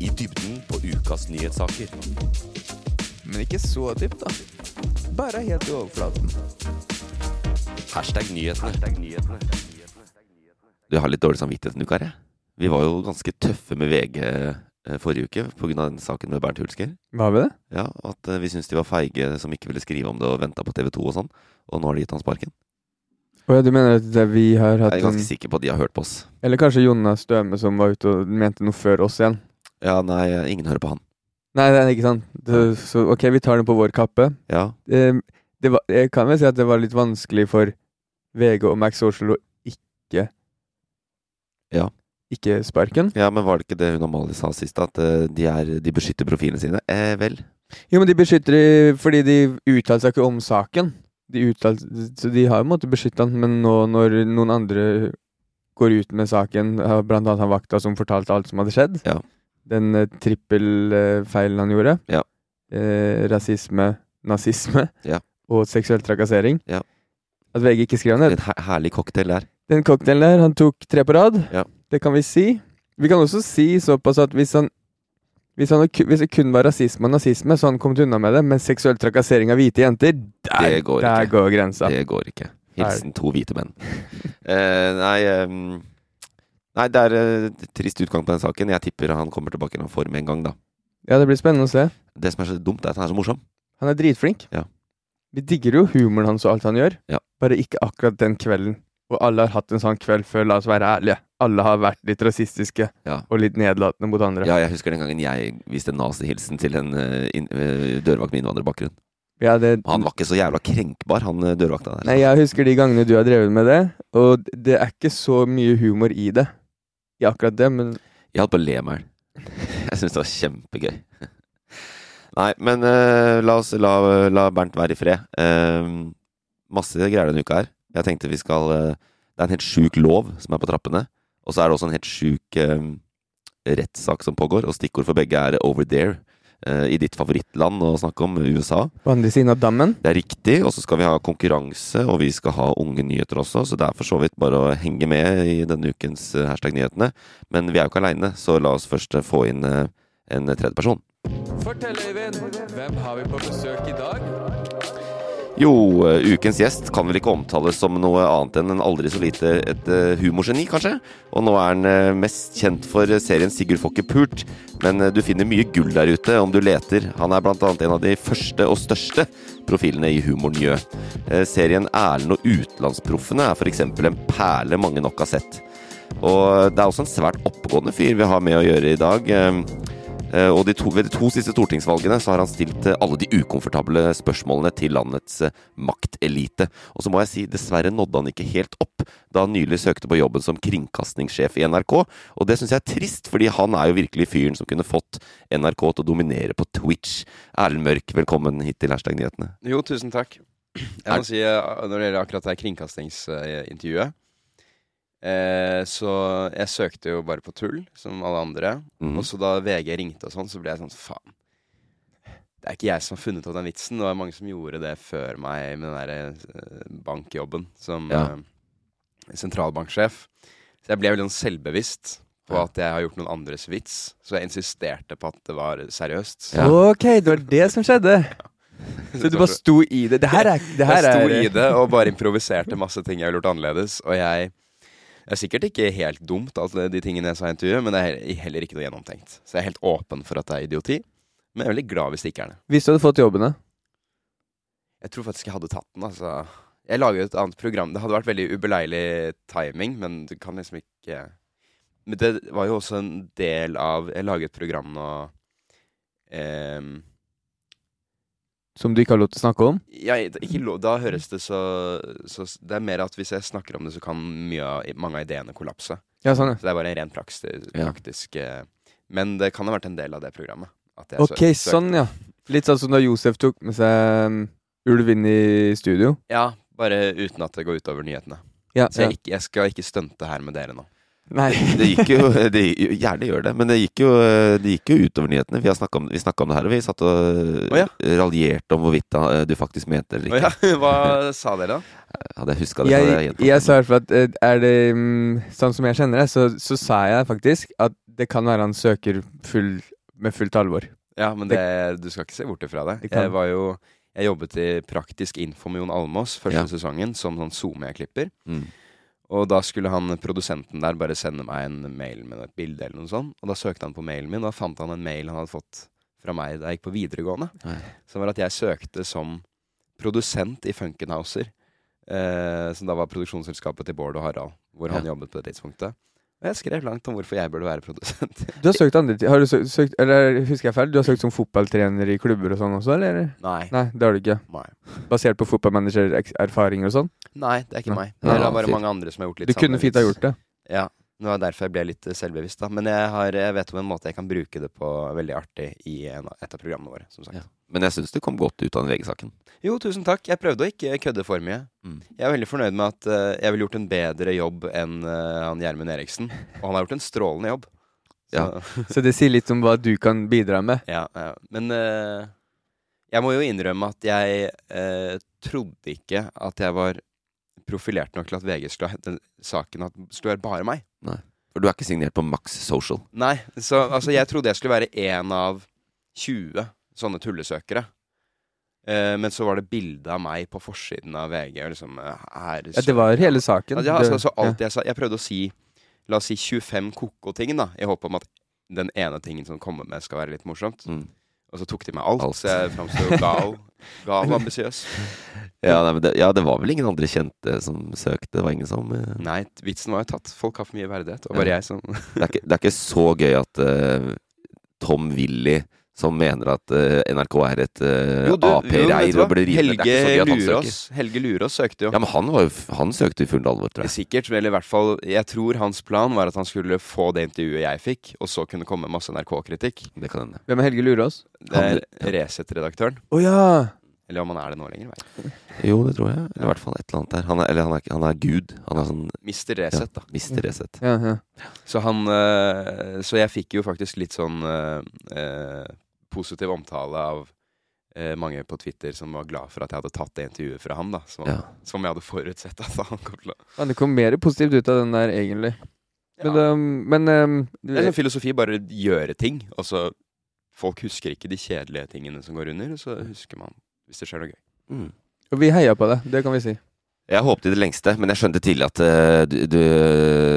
I dybden på ukas nyhetssaker. Men ikke så dypt, da. Bare helt i overflaten. Hashtag nyhetene. Du har litt dårlig samvittighet denne uka, her, jeg. Vi var jo ganske tøffe med VG eh, forrige uke pga. den saken med Bernt Hulsker. Var vi det? Ja, At eh, vi syntes de var feige som ikke ville skrive om det og venta på TV 2 og sånn. Og nå har de gitt han sparken. Å ja, du mener at det vi har hatt Jeg er en ganske sikker på at de har hørt på oss. Eller kanskje Jonas Støme som var ute og mente noe før oss igjen. Ja, nei, ingen hører på han. Nei, det er ikke sant. Det, så ok, vi tar den på vår kappe. Ja, Eh, det var, jeg kan vel si at det var litt vanskelig for VG og Max Social å ikke Ja. Ikke sparken. ja men var det ikke det hun Amalie sa sist, at eh, de, er, de beskytter profilene sine? Eh, vel. Jo, men de beskytter de fordi de uttalte seg ikke om saken. De uttalte, så de har jo måttet beskytte han, men nå når noen andre går ut med saken, eh, blant annet han vakta som fortalte alt som hadde skjedd, Ja. den eh, trippelfeilen han gjorde, Ja. eh, rasisme, nazisme Ja. og seksuell trakassering, Ja. at VG ikke skrev ned. En her herlig cocktail der. Den cocktailen der, han tok tre på rad. Ja. Det kan vi si. Vi kan også si såpass at hvis han hvis, han, ku- hvis det kun var rasisme og nazisme, så han kom unna med det, men seksuell trakassering av hvite jenter, der, Det går der ikke. går grensa. Det går ikke. Hilsen to hvite menn. Eh, nei, ehm, nei, det er eh, trist utgang på den saken. Jeg tipper han kommer tilbake i noen form en gang, da. Ja, det blir spennende å se. Det som er så dumt, er at han er så morsom. Han er dritflink. Ja. Vi digger jo humoren hans og alt han gjør, Ja. bare ikke akkurat den kvelden. Og alle har hatt en sånn kveld før, la oss være ærlige. Alle har vært litt rasistiske Ja. og litt nedlatende mot andre. Ja, jeg husker den gangen jeg viste nazihilsen til en eh, inn- eh, dørvakt med innvandrerbakgrunn. Ja, det, Han var ikke så jævla krenkbar, han eh, dørvakta der. Nei, jeg husker de gangene du har drevet med det, og det er ikke så mye humor i det. I akkurat det, men Jeg holdt på å le meg Jeg syns det var kjempegøy. Nei, men eh, la oss la, la Bernt være i fred. Eh, masse greier denne uka her. Jeg tenkte vi skal eh, Det er en helt sjuk lov som er på trappene. Og så er det også en helt sjuk eh, rettssak som pågår, og stikkord for begge er 'over there'. eh, I ditt favorittland å snakke om, USA. på andre siden av dammen Det er riktig, og så skal vi ha konkurranse, og vi skal ha unge nyheter også, så det er for så vidt bare å henge med i denne ukens eh, hashtag nyhetene. Men vi er jo ikke aleine, så la oss først eh, få inn eh, en tredje person. Fortell, Øyvind, hvem har vi på besøk i dag? Jo, eh, ukens gjest kan vel ikke omtales som noe annet enn en aldri så lite et eh, humorgeni, kanskje? Og nå er han eh, mest kjent for eh, serien Sigurd Fokke Pult, men eh, du finner mye gull der ute om du leter. Han er blant annet en av de første og største profilene i humormiljø. Eh, Serien Erlend og utenlandsproffene er f.eks. en perle mange nok har sett. Og det er også en svært oppegående fyr vi har med å gjøre i dag. Eh, eh, Og de to, ved de to siste stortingsvalgene så har han stilt eh, alle de ukomfortable spørsmålene til landets eh, maktelite. Og så må jeg si, dessverre nådde han ikke helt opp da han nylig søkte på jobben som kringkastingssjef i NRK. Og det syns jeg er trist, fordi han er jo virkelig fyren som kunne fått NRK til å dominere på Twitch. Erlend Mørk, velkommen hit til Hashtag Nyhetene. Jo, tusen takk. Jeg Er- må si, eh, når det gjelder akkurat det her kringkastingsintervjuet eh, Så jeg søkte jo bare på tull, som alle andre. Mhm. Og så da VG ringte og sånn, så ble jeg sånn faen. Det er ikke jeg som har funnet opp den vitsen. Det var mange som gjorde det før meg med den derre eh, bankjobben som Ja. eh, sentralbanksjef. Så jeg ble veldig sånn selvbevisst på Ja. at jeg har gjort noen andres vits. Så jeg insisterte på at det var seriøst. Ja. Ok, det var det som skjedde. Så du bare sto i det. Det her er, det her jeg sto er i det og bare improviserte masse ting jeg ville gjort annerledes. Og jeg, Det er sikkert ikke helt dumt, alt det- de tingene jeg sa i intervjuet, men det er he- heller ikke noe gjennomtenkt. Så jeg er helt åpen for at det er idioti, men jeg er veldig glad hvis det ikke er det. Hvis du hadde fått jobbene Jeg tror faktisk jeg hadde tatt den, altså. Jeg lager et annet program. Det hadde vært veldig ubeleilig timing, men du kan liksom ikke Men det var jo også en del av Jeg lager et program nå ehm, som du ikke har lov til å snakke om Ja, i- ikke lov, da høres det så, så s- Det er mer at hvis jeg snakker om det, så kan mye av, mange av ideene kollapse. Ja, sånn, Så det er bare en ren praktisk, Ja. praktisk eh, Men det kan ha vært en del av det programmet. At jeg ja. Ok, søk- søkte. sånn, ja. Litt sånn som da Josef tok med seg mm, ulv inn i studio. Ja, bare uten at det går utover nyhetene. Ja, Så ja. jeg, ikke, jeg skal ikke stunte her med dere nå. Nei. Det gikk jo det, Gjerne gjør det, men det gikk jo, det gikk jo utover nyhetene. Vi har snakket om, vi snakket om det her, og vi satt og Å ja. raljerte om hvorvidt eh, du faktisk mente det eller Å ikke. ja, hva sa dere, da? Hadde jeg huska det, så hadde jeg Jeg, gjentatt jeg det. sa i hvert fall at eh, er det mm, Sånn som jeg kjenner deg, så, så sa jeg faktisk at det kan være han søker full, med fullt alvor. Ja, men det, du skal ikke se bort ifra det. Det kan- Jeg var jo Jeg jobbet i Praktisk info med Jon Almås Ja. første sesongen, som sånn SoMe-klipper. Mm. Og da skulle han, produsenten der bare sende meg en mail med et bilde eller noe sånt. Og da søkte han på mailen min, og da fant han en mail han hadde fått fra meg da jeg gikk på videregående. Nei. Som var at jeg søkte som produsent i Funkenhauser. Eh, som da var produksjonsselskapet til Bård og Harald, hvor han Ja. jobbet på det tidspunktet. Og jeg skrev langt om hvorfor jeg burde være produsent. Du har søkt andre ting. Har du søkt, søkt Eller husker jeg feil? Du har søkt som fotballtrener i klubber og sånn også, eller? Nei. Nei, det har du ikke. Nei. Basert på fotballmanager-erfaringer og sånn. Nei, det er ikke Nei. meg. Det er Nei, bare fint. mange andre som har gjort litt Du kunne fint ha gjort det. Ja. Det var derfor jeg ble litt eh, selvbevisst, da. Men jeg, har, jeg vet om en måte jeg kan bruke det på veldig artig i en, av- et av programmene våre, som sagt. Ja. Men jeg syns du kom godt ut av den VG-saken. Jo, tusen takk. Jeg prøvde å ikke kødde for mye. Mm. Jeg er veldig fornøyd med at eh, jeg ville gjort en bedre jobb enn eh, han Gjermund Eriksen. Og han har gjort en strålende jobb. Så, Ja. Så det sier litt om hva du kan bidra med. ja, ja. Men eh, jeg må jo innrømme at jeg eh, trodde ikke at jeg var profilert nok til at VG skulle ha den saken at skulle være bare meg. For du er ikke signert på Max Social. Nei, så altså, jeg trodde jeg skulle være én av 20 sånne tullesøkere. Eh, men så var det bilde av meg på forsiden av VG. og Liksom, eh, her Ja, det var hele saken. Ja, altså, Det- så ja. alt jeg sa Jeg prøvde å si La oss si 25 koko ting da I håp om at den ene tingen som kommer med Skal være litt morsomt Mm. Og så tok de med alt, Alt. Så jeg fremstod gal Gal og ambisiøs Ja, nei, men det, ja, det var vel ingen andre kjente som søkte. Det var ingen som eh, Nei, vitsen var jo tatt Folk har for mye verdighet Og bare Ja. jeg som det, er ikke, det er ikke så gøy at eh, Tom Willy, som mener at eh, NRK er et eh, Jo, du- jo, vet du Ap-reir hva? og burde rive ned, det er ikke Helge så gøy at han søker. Lurås Helge Lurås søkte jo Ja, men han, var jo, f- han søkte i fullt alvor, tror jeg. Sikkert, eller i hvert fall Jeg tror hans plan var at han skulle få det intervjuet jeg fikk Og så kunne komme masse NRK-kritikk Det kan hende. Hvem er Helge Lurås? Det Han- er Resett-redaktøren Å ja! Eller om han er det nå lenger vet jeg. Jo, det tror jeg. Eller i hvert fall et eller annet der. Han er, eller han er, ikke- han er gud. Han er sånn Mr. ja, Resett da Mister Resett. ja, ja. Så han eh, Så jeg fikk jo faktisk litt sånn eh, eh, positiv omtale av eh, mange på Twitter som var glad for at jeg hadde tatt det intervjuet fra ham, da. Som, Ja. som jeg hadde forutsett at han kom til å Faen, det kom mer positivt ut av den der, egentlig. Men, Ja. um, men um, Det er sånn eh, filosofi, bare gjøre ting. Og så Folk husker ikke de kjedelige tingene som går under, og så husker man hvis det skjer noe gøy. Mm. vi heia på deg, det kan vi si. Jeg håpet i det lengste, men jeg skjønte tidlig at eh, du, du,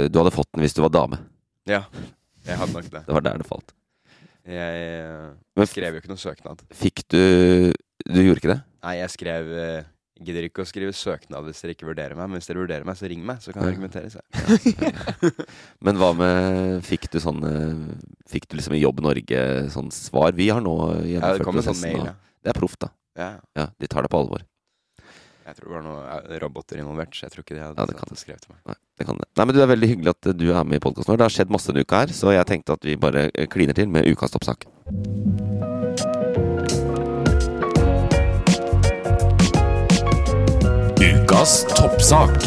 du hadde fått den hvis du var dame. Ja, jeg hadde nok det. Det var der det falt. Jeg eh, Men f- skrev jo ikke noen søknad. fikk du Du gjorde ikke det? Nei, jeg skrev eh, Gidder ikke å skrive søknad hvis dere ikke vurderer meg, men hvis dere vurderer meg, så ring meg, så kan Ja. jeg argumentere. sa jeg. Men hva med Fikk du sånn eh, Fikk du liksom i Jobb Norge sånn svar? Vi har nå Ja, det gjennomført kom en sånn prosessen. mail, og- Det er proft, da. ja. ja. Ja, de tar det på alvor. Jeg tror det var noen eh, roboter involvert, så jeg tror ikke de hadde Ja, det kan satt og skrevet til meg. Nei, det kan det. Nei, men du er veldig hyggelig at eh, du er med i podkasten vår. Det har skjedd masse denne uka her, så jeg tenkte at vi bare eh, kliner til med ukas toppsak. Ukas toppsak.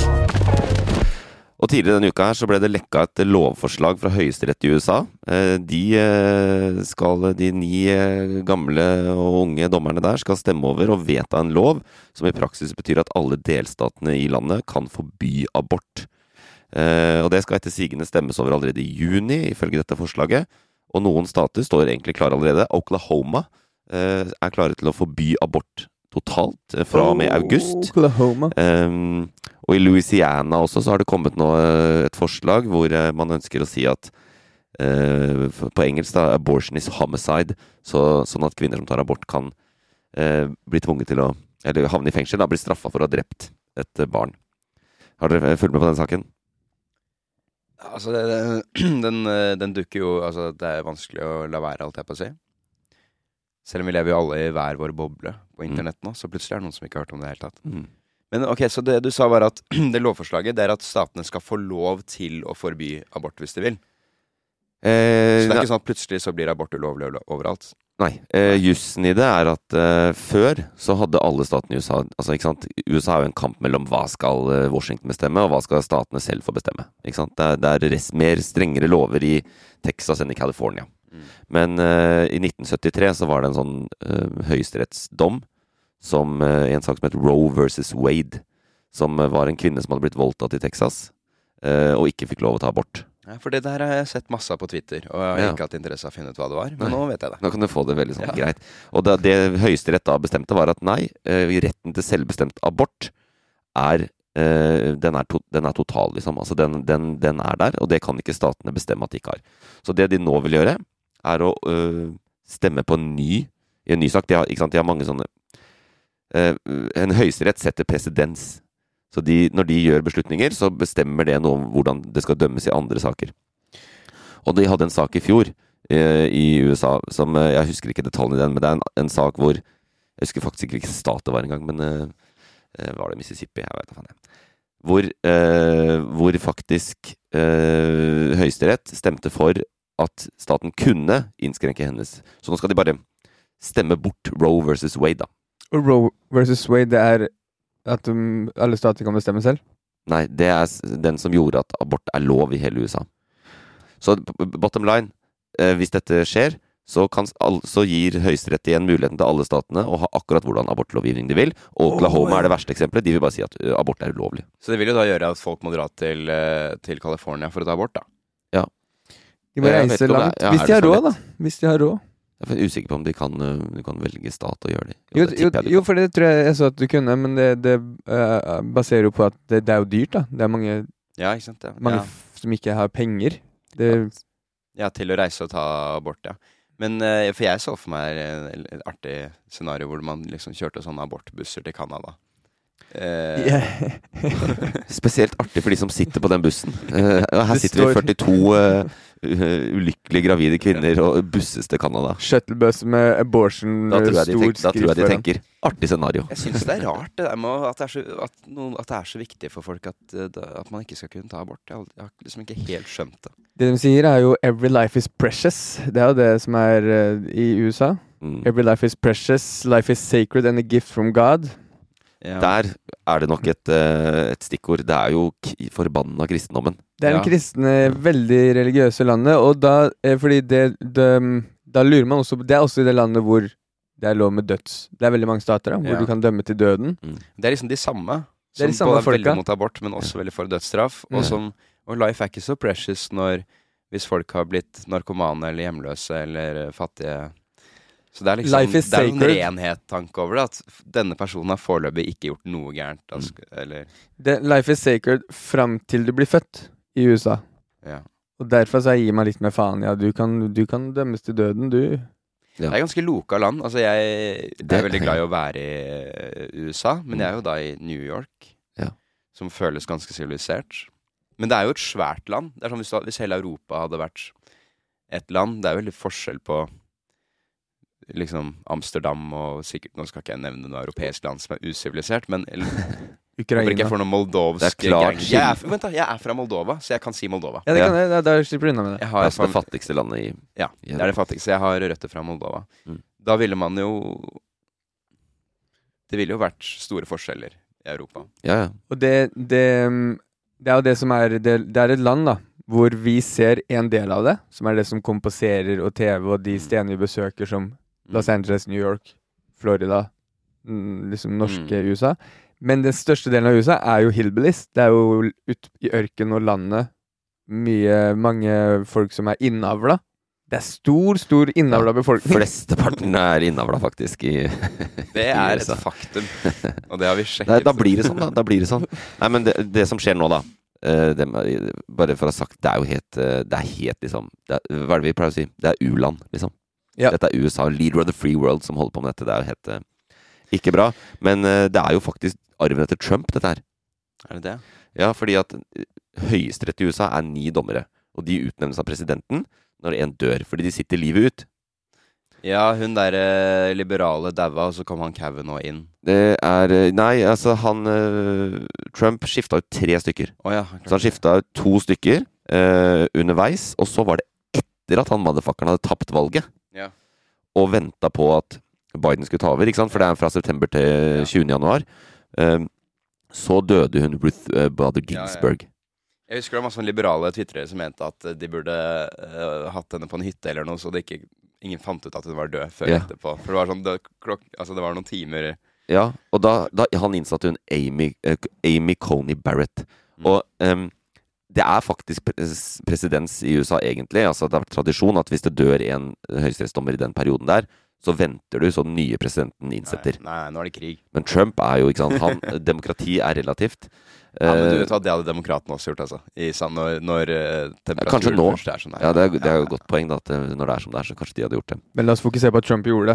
Og Tidligere denne uka her så ble det lekka et lovforslag fra høyesterett i USA. Eh, De, eh, skal, de ni eh, gamle og unge dommerne der skal stemme over og vedta en lov som i praksis betyr at alle delstatene i landet kan forby abort. Eh, Og Det skal etter sigende stemmes over allerede i juni, ifølge dette forslaget. Og noen stater står egentlig klare allerede. Oklahoma eh, er klare til å forby abort totalt eh, fra og med august. Oklahoma. Ehm, Og i Louisiana også så har det kommet nå eh, et forslag hvor eh, man ønsker å si at eh, f- På engelsk, da. Abortion is homicide. Så, sånn at kvinner som tar abort, kan eh, bli tvunget til å Eller havne i fengsel, da. Bli straffa for å ha drept et eh, barn. Har dere eh, fulgt med på den saken? Altså, det, det, den, eh, den dukker jo Altså, det er vanskelig å la være, alt jeg på å si. Selv om vi lever jo alle i hver vår boble på Mm. internett nå, så plutselig er det noen som ikke har hørt om det i det hele tatt. Men ok, så det du sa var at det lovforslaget det er at statene skal få lov til å forby abort hvis de vil. Så Eh, det er ikke sånn at plutselig så blir abort ulovlig ol- overalt. Nei. Eh, Jussen i det er at eh, før så hadde alle statene i USA Altså, ikke sant. USA er jo en kamp mellom hva skal eh, Washington bestemme, og hva skal statene selv få bestemme. Ikke sant. Det er, det er res, mer strengere lover i Texas enn i California. Men eh, i 1973 så var det en sånn eh, høyesterettsdom som, eh, i en sak som het Roe versus Wade, som eh, var en kvinne som hadde blitt voldtatt i Texas, eh, og ikke fikk lov å ta abort. Ja, for det der har jeg sett masse av på Twitter, og jeg har Ja. ikke hatt interesse av å finne ut hva det var. Men Nei. nå vet jeg det. Nå kan du få det veldig sånn Ja. greit. Og det, det Høyesterett da bestemte, var at nei, eh, retten til selvbestemt abort er eh, den, er to, den er total, liksom. Altså den, den, den er der, og det kan ikke statene bestemme at de ikke har. Så det de nå vil gjøre, er å eh, stemme på en ny, i en ny sak. De har, ikke sant? De har mange sånne eh, En høyesterett setter presedens. Så de, når de gjør beslutninger, så bestemmer det noe om hvordan det skal dømmes i andre saker. Og de hadde en sak i fjor eh, i USA som eh, Jeg husker ikke detaljene i den, men det er en, en sak hvor Jeg husker faktisk ikke hvilken stat det var engang, men eh, eh, var det Mississippi? Jeg vet da faen. jeg. Hvor, eh, hvor faktisk eh, Høyesterett stemte for at staten kunne innskrenke hennes. Så nå skal de bare stemme bort Roe versus Wade, da. Og Roe versus Wade, det er at um, alle stater kan bestemme selv? Nei, det er s- den som gjorde at abort er lov i hele USA. Så b- b- bottom line, eh, hvis dette skjer, så, kan, s- all- så gir Høyesterett igjen muligheten til alle statene å ha akkurat hvordan abortlovgivning de vil. Og Oklahoma er det verste eksempelet. De vil bare si at ø, abort er ulovlig. Så det vil jo da gjøre at folk må dra til, eh, til California for å ta abort, da. De må Jeg vet reise ikke om det er- langt. ja, Hvis er de det har så råd, da. lett? Hvis de har råd. Jeg er usikker på om de kan, ø, du kan velge stat og gjøre det. Jo, det jo, tipper jeg du jo, kan. for det tror jeg jeg så at du kunne, men det, det eh, baserer jo på at det, det er jo dyrt, da. Det er mange, Ja, ikke sant? Ja. mange Ja. f- som ikke har penger. Det, ja, til å reise og ta abort, ja. Men eh, for jeg så for meg eh, et artig scenario hvor man liksom kjørte sånne abortbusser til Canada. Eh, Spesielt artig for de som sitter på den bussen. Eh, og her Det sitter vi eh, står- 42 ø, ø, ulykkelige gravide kvinner og busses til Canada. Shuttlebuss med abortion Da tror jeg de stort tenker, da tror jeg skrift de foran. tenker artig scenario. jeg syns det er rart det der med at det er så, at noen, at det er så viktig for folk at, eh, da- at man ikke skal kunne ta abort. Jeg har aldri- jeg har liksom ikke helt skjønt det. Det de sier, er jo 'every life is precious'. Det er jo det som er eh, i USA. Mm. 'Every life is precious, life is sacred and a gift from God'. Ja. Der er det nok et, eh, et stikkord. Det er jo k- forbanna kristendommen. Det er den Ja. kristne, veldig religiøse landet, og da eh, Fordi det, det Da lurer man også Det er også i det landet hvor det er lov med døds. Det er veldig mange stater da, hvor Ja. du kan dømme til døden. Mm. Det er liksom de samme. Det er de som samme både er folka. Mm. veldig mot abort, men også veldig for dødsstraff. Ja. Og, som, og life er ikke så precious når, hvis folk har blitt narkomane eller hjemløse eller eh, fattige. Så det er liksom Life is det er en sacred. renhet-tanke over det. At f- denne personen har foreløpig ikke gjort noe gærent. da sk- Mm. Eller, Det, life is sacred fram til du blir født i USA. ja. Og derfor så gir meg litt mer faen. Ja, du kan, du kan dømmes til døden, du. Det er ganske loka land. Altså, jeg Det- er veldig glad i å være i eh, USA, men jeg er jo da i New York, Ja. som føles ganske sivilisert. Men det er jo et svært land. Det er sånn hvis, du- hvis hele Europa hadde vært et land Det er jo veldig forskjell på liksom Amsterdam og sikkert Nå skal ikke jeg nevne noe europeisk land som er usivilisert, men eller, Håper ikke jeg Ukraina. får noe Det er moldovsk klart gang. Jeg er, fra- vent da, jeg er fra Moldova, så jeg kan si Moldova. Ja, det kan jeg. Da, da slipper du unna med det. Jeg Det har er altså det fam- fattigste landet i ja, i det er det Europa. fattigste. Jeg har røtter fra Moldova. Mm. Da ville man jo Det ville jo vært store forskjeller i Europa. Ja, ja. Og det, det, mm, det er jo det som er det, det er et land, da, hvor vi ser en del av det, som er det som kompenserer og TV og de stedene vi besøker, som Los Angeles, New York, Florida, mm, liksom norske USA. Men den største delen av USA er jo hillbillies. Det er jo ut i ørken og landet mye, mange folk som er innavla. Det er stor, stor innavla befolkning. Flesteparten er innavla, faktisk. I, Det er USA. et faktum. Og det har vi sjekket. Nei, da blir det sånn, da. da blir det sånn. Nei, men det, det som skjer nå, da eh, det, må- Bare for å ha sagt, det er jo helt eh, Det er helt, liksom det er, Hva er det vi pleier å si? Det er u-land, liksom. Ja. Dette er USA, leader of the free world, som holder på med dette. Det er jo helt eh, ikke bra. Men eh, det er jo faktisk arven etter Trump, dette her. Er det det? Ja, fordi at eh, høyesterett i USA er ni dommere. Og de utnevnes av presidenten når en dør. Fordi de sitter livet ut. Ja, hun derre liberale daua, og så kom han Kavanaugh inn. Det er eh, Nei, altså, han eh, Trump skifta ut tre stykker. Å ja. Så han skifta ut to stykker eh, underveis, og så var det etter at han motherfuckeren hadde tapt valget, Ja. og venta på at Biden skulle ta over, ikke sant? for det er fra september til Ja. 20. januar. Um, så døde hun Ruth eh, Bader Ja, ja. Ginsburg. Jeg husker det var masse sånne liberale twitrere som mente at eh, de burde eh, hatt henne på en hytte eller noe, så det ikke, ingen fant ut at hun var død før Ja. etterpå. For det var sånn det, klok, altså, det var noen timer Ja, og da, da han innsatte hun Amy, eh, Amy Coney Barrett. Mm. Og em, det er faktisk pres- presedens i USA, egentlig. Altså, det har vært tradisjon at hvis det dør en eh, høyesterettsdommer i den perioden der, så venter du så den nye presidenten innsetter. Nei, nei, nå er det krig. Men Trump er jo, ikke sant han, eh, Demokrati er relativt. Ja, men du Eh, vet hva, det hadde demokratene også gjort, altså. I, sånn, når når eh, kanskje temperaturen nå. først er sånn her. ja, det er, det er jo et godt poeng, da. At eh, når det er som det er, så kanskje de hadde gjort det. Men la oss fokusere på at Trump gjorde det.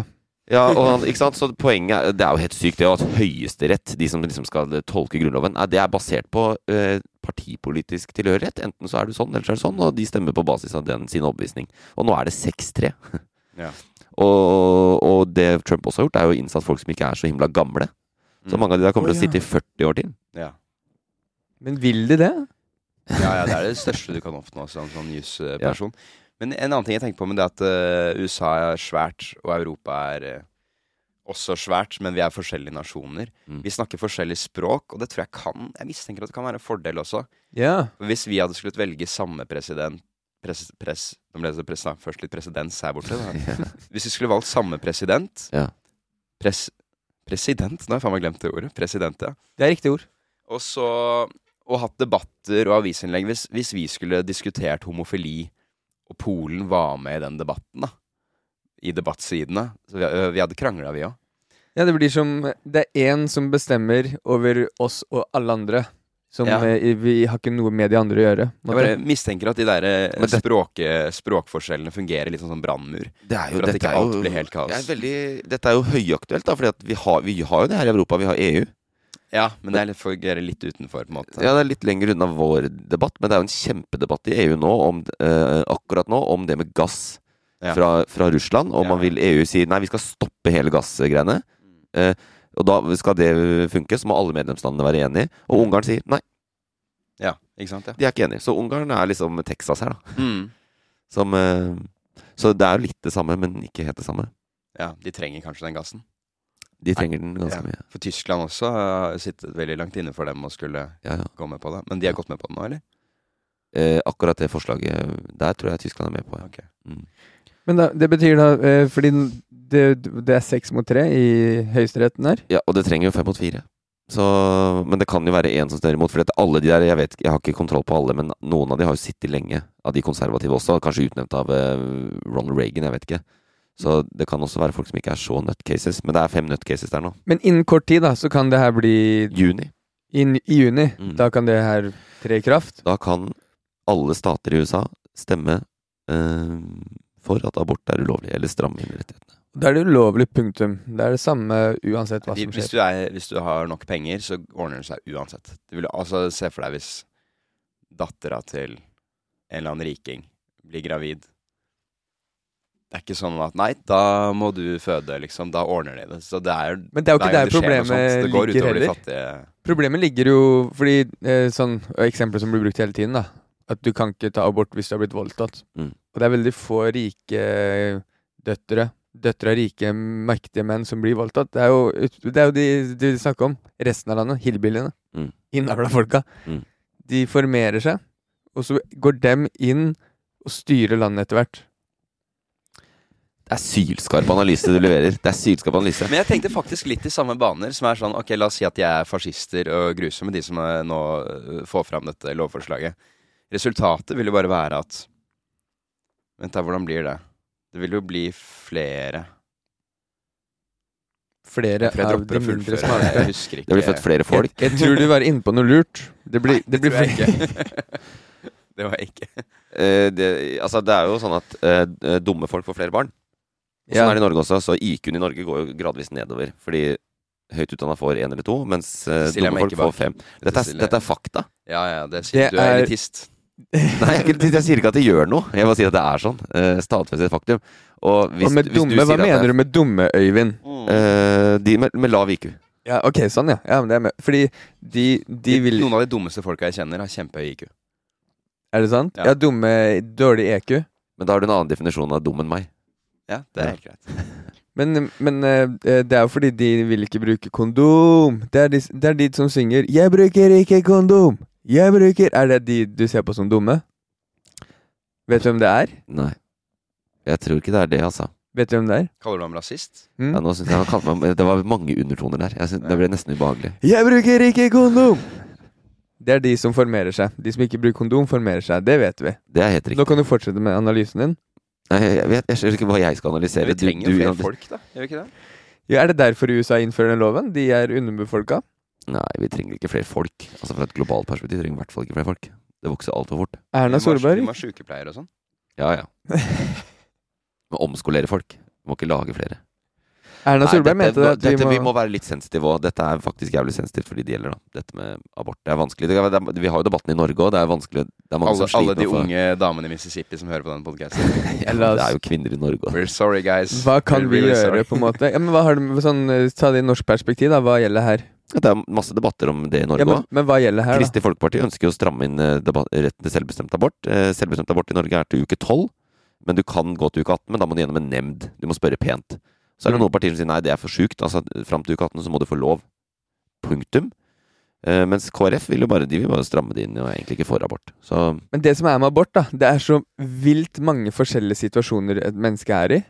Ja, og han, ikke sant? Så poenget er, det er jo helt sykt det er jo at Høyesterett, de som liksom skal tolke Grunnloven, nei, det er basert på eh, partipolitisk tilhørighet. Enten så er du sånn, eller så er du sånn, og de stemmer på basis av den sin overbevisning. Og nå er det 6-3. Ja. Og, og det Trump også har gjort, er jo innsatt folk som ikke er så himla gamle. Så Mm. mange av de der kommer Å, til å ja. sitte i 40 år til. Ja. Men vil de det? Ja, ja, det er det største du kan oppnå som sånn jusperson. Men en annen ting jeg tenker på, men det er at eh, USA er svært, og Europa er eh, også svært, men vi er forskjellige nasjoner. Mm. Vi snakker forskjellig språk, og det tror jeg kan Jeg mistenker at det kan være en fordel også. Ja. For Hvis vi hadde skullet velge samme president pres, pres, Nå ble det pres, nei, først litt presedens her borte. Da. Hvis vi skulle valgt samme president Ja. pres, President? Nå har jeg faen meg glemt det ordet. President, ja. Det er riktig ord. Og så Og hatt debatter og avisinnlegg hvis, hvis vi skulle diskutert homofili, og Polen var med i den debatten, da. I debattsidene. Så vi, ø, vi hadde krangla, vi òg. Ja, det blir som Det er én som bestemmer over oss og alle andre. Som Ja. eh, Vi har ikke noe med de andre å gjøre. Jeg bare mistenker at de der eh, Men det- språk, språkforskjellene fungerer litt sånn som brannmur. Det er For at ikke alt blir helt kaos. det er veldig, dette er jo høyaktuelt, da, for vi, har- vi har jo det her i Europa. Vi har E EU. Ja, men det er litt, fungerer litt utenfor, på en måte. Ja, det er litt lenger unna vår debatt, men det er jo en kjempedebatt i EU nå, om, eh, akkurat nå, om det med gass Ja. fra, fra Russland. Og Ja. man vil EU si nei, vi skal stoppe hele gassgreiene. Eh, og da skal det funke, så må alle medlemslandene være enige. Og Ungarn sier nei, Ja, ikke sant? Ja. de er ikke enige. Så Ungarn er liksom Texas her, da. Mm. Som, eh, så det er jo litt det samme, men ikke helt det samme. ja, de trenger kanskje den gassen. De trenger den ganske Ja. mye. For Tyskland også har sittet veldig langt inne for dem og skulle Ja, ja. gå med på det. Men de har gått med på det nå, eller? Eh, akkurat det forslaget der tror jeg Tyskland er med på. Ja. Ok. Mm. Men da, det betyr da eh, Fordi det, det er seks mot tre i høyesteretten her. Ja, og det trenger jo fem mot fire. Så, men det kan jo være én som stemmer imot. For at alle de der, jeg vet ikke- jeg har ikke kontroll på alle, men noen av de har jo sittet lenge, av de konservative også. Kanskje utnevnt av eh, Ronald Reagan, jeg vet ikke. Så det kan også være folk som ikke er så nutcases. Men det er fem nutcases der nå. Men innen kort tid da, så kan det her bli Juni. inn, I juni. Mm. Da kan det her tre i kraft. Da kan alle stater i USA stemme eh, for at abort er ulovlig, eller stramme inn rettighetene. Da er det ulovlig punktum. Det er det samme uansett hva Vi- som Hvis skjer. du, er, hvis du har nok penger, så ordner det seg uansett. Du vil, altså, se for deg hvis dattera til en eller annen riking blir gravid. Det er ikke sånn at nei, da må du føde, liksom. Da ordner de det. Så det er jo Men det er jo ikke der problemet Det går ligger utover de heller. fattige. Problemet ligger jo fordi eh, sånn og Eksempler som blir brukt hele tiden, da. At du kan ikke ta abort hvis du har blitt voldtatt. Mm. Og det er veldig få rike eh, døtre, døtre av rike, mektige menn som blir voldtatt. Det er jo, ut- det er jo de, de vi snakker om. Resten av landet. Hillbillyene. Mm. Innavla folka. Mm. De formerer seg, og så går dem inn og styrer landet etter hvert. Det er sylskarp analyse du leverer. Det er sylskarp analyse. Men jeg tenkte faktisk litt i samme baner, som er sånn Ok, la oss si at de er fascister og grusomme, de som eh, nå eh, får fram dette lovforslaget. Resultatet vil jo bare være at Vent da, hvordan blir det? Det vil jo bli flere. Flere Jeg tror jeg av dropper de å mindre fullføre. smarte. Jeg husker ikke. Det blir født flere folk. Jeg tror du var inne på noe lurt. Det blir, det blir tror jeg flere. ikke. det var jeg ikke. Eh, det, altså, det er jo sånn at eh, d- dumme folk får flere barn. Og Sånn Ja. er det i Norge også. Så IQ-en i Norge går jo gradvis nedover. Fordi høyt utdanna får én eller to, mens eh, Stiller jeg dumme meg folk ikke bak. får fem. Dette er, stiller jeg- dette er fakta. Ja, ja, det Det sier du er er- elitist. Nei, jeg, er ikke- jeg sier ikke at det gjør noe. Jeg bare sier at det er sånn. Uh, Stadfestet faktum. Og hvis, Og med hvis dumme, hva mener du med dumme, Øyvind? Mm. Eh, de med, med lav IQ. Ja, ok, sånn ja. ja men det er med. Fordi de, de vil Noen av de dummeste folka jeg kjenner, har kjempehøy IQ. Er det sant? Ja. Ja, dumme, dårlig E EQ. Men da har du en annen definisjon av dum enn meg. Ja, det er helt greit. Men, men eh, det er jo fordi de vil ikke bruke kondom. Det er de, det er de som synger 'Jeg bruker ikke kondom'. Jeg bruker Er det de du ser på som dumme? Vet du hvem det er? Nei. Jeg tror ikke det er det, altså. Vet du hvem det er? Kaller du ham rasist? Mm? Ja, nå synes jeg han kalte meg Det var mange undertoner der. Jeg synes, det ble nesten ubehagelig. Jeg bruker ikke kondom! Det er de som formerer seg. De som ikke bruker kondom, formerer seg. Det vet vi. Det er helt riktig. Nå kan du fortsette med analysen din. Nei, jeg, jeg, vet, jeg skjønner ikke hva jeg skal Men analysere. vi trenger jo flere analys- folk, da. Gjør vi ikke det? Ja, er det derfor USA innfører den loven? De er underbefolka? Nei, vi trenger ikke flere folk. Altså Fra et globalt perspektiv trenger vi i hvert fall ikke flere folk. Det vokser altfor fort. Erna Vi må ha- Vi Solberg? må ha sykepleiere og sånn. Ja, ja. Må omskolere folk. Må ikke lage flere. Erna Solberg Nei, dette- mente det at dette, vi må være litt sensitive òg. Dette er faktisk jævlig sensitivt for de det gjelder, da. Dette med abort. Det er vanskelig. Det er, det er, vi har jo debatten i Norge òg. Det er vanskelig. Det er mange Alle, som alle sliter de med å få- unge damene i Mississippi som hører på den podkasten. ja, La oss- Det er jo kvinner i Norge òg. We're sorry, guys. Hva kan We're vi really gjøre, sorry. på en måte? Ja, men hva har det med sånn, eh, Ta det i norsk perspektiv, da. Hva gjelder her? Det er masse debatter om det i Ja, Norge òg. men, men hva gjelder her, da? Kristelig Folkeparti ønsker jo å stramme inn eh, debat- retten til selvbestemt abort. Eh, Selvbestemt abort i Norge er til uke 12, men du kan gå til uke 18, men da må du gjennom en nemnd. Du må spørre pent. Så er det Mm. noen partier som sier nei, det er for sjukt. Altså, fram til uke 18 så må du få lov. Punktum. Eh, mens KrF vil jo bare, de vil bare stramme det inn og er egentlig ikke for abort. Så Men det som er med abort, da, det er så vilt mange forskjellige situasjoner et menneske er i.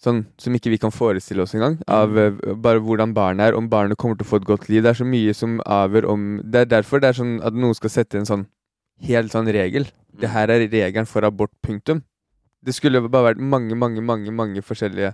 Sånn som ikke vi kan forestille oss engang. Av eh, bare hvordan barnet er, om barnet kommer til å få et godt liv. Det er så mye som avgjør om Det er derfor det er sånn at noen skal sette en sånn helt sånn regel. Det her er regelen for abort, punktum. Det skulle bare vært mange, mange, mange mange forskjellige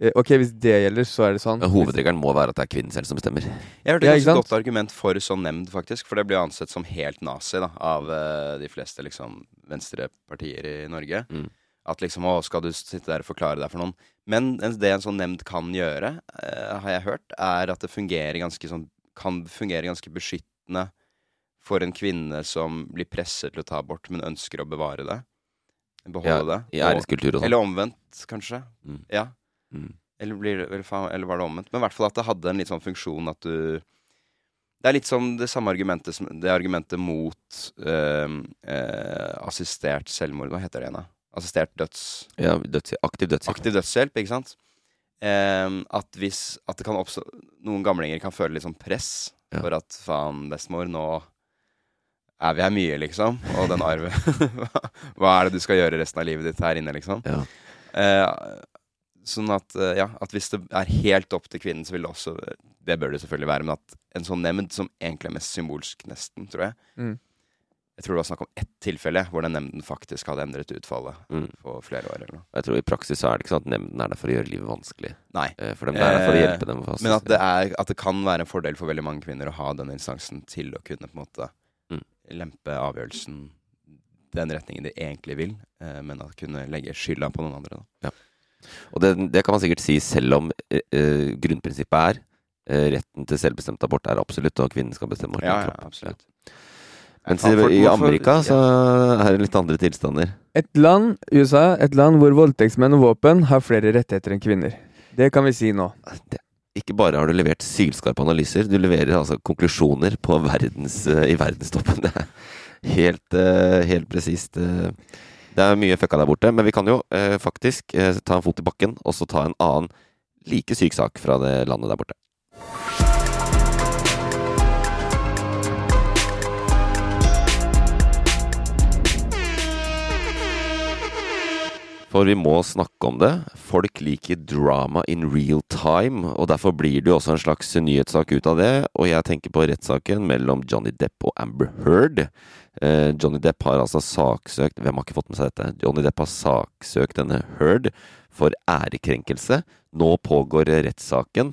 eh, Ok, hvis det gjelder, så er det sånn. Mm. hovedregelen må være at det er kvinnen selv som bestemmer. Jeg hørte Ja, et ikke ganske sant? godt argument for sånn nemnd, faktisk. For det blir ansett som helt nazi da, av eh, de fleste liksom, venstrepartier i Norge. Mm. At liksom Å, skal du sitte der og forklare deg for noen? Men en- det en sånn nemnd kan gjøre, eh, har jeg hørt, er at det fungerer ganske sånn Kan fungere ganske beskyttende for en kvinne som blir presset til å ta abort, men ønsker å bevare det. Beholde I det. Og- æreskultur og sånn. Eller omvendt, kanskje. Mm. Ja. Mm. Eller, blir det, eller, faen- eller var det omvendt? Men i hvert fall at det hadde en litt sånn funksjon at du Det er litt som det samme argumentet som Det argumentet mot øhm, eh, assistert selvmord Hva heter det igjen, da? Assistert døds... Ja, døds, aktiv dødshjelp. Aktiv dødshjelp, ikke sant? Ehm, at hvis At det kan oppstå Noen gamlinger kan føle litt sånn press Ja. for at faen, bestemor, nå er vi her mye, liksom. Og den arven hva- Hva er det du skal gjøre resten av livet ditt her inne, liksom? Ja. Eh, sånn at, eh, ja, at hvis det er helt opp til kvinnen, så vil det også Det bør det selvfølgelig være, men at en sånn nemnd, som egentlig er mest symbolsk, nesten, tror jeg Mm. Jeg tror det var snakk om ett tilfelle hvor den nemnden faktisk hadde endret utfallet Mm. på flere år eller noe. Jeg tror I praksis så er det ikke sånn at nemnden er der for å gjøre livet vanskelig Nei. eh, for dem. Det er der for å Eh, hjelpe dem. fast. Men at det, er, at det kan være en fordel for veldig mange kvinner å ha den instansen til å kunne på en måte Mm. lempe avgjørelsen den retningen de egentlig vil, eh, men å kunne legge skylda på noen andre. Da. Og det, det kan man sikkert si selv om eh, eh, grunnprinsippet er eh, retten til selvbestemt abort er absolutt, og kvinnen skal bestemme over Ja, egen ja, kropp. absolutt. Ja. Mens Ja, folk i, i må få- Amerika så ja. er det litt andre tilstander. Et land, USA, et land hvor voldtektsmenn og våpen har flere rettigheter enn kvinner. Det kan vi si nå. Det, ikke bare har du levert sylskarpe analyser, du leverer altså konklusjoner på verdens, eh, i verdenstoppen. Det er helt, eh, helt presist. eh. det er mye fucka der borte, men vi kan jo eh, faktisk eh, ta en fot i bakken, og så ta en annen like syk sak fra det landet der borte. For vi må snakke om det. Folk liker drama in real Time, og derfor blir det jo også en slags nyhetssak ut av det. Og jeg tenker på rettssaken mellom Johnny Depp og Amber Heard. Eh, Johnny Depp har altså saksøkt Hvem har ikke fått med seg dette? Johnny Depp har saksøkt denne Heard for ærekrenkelse. Nå pågår rettssaken.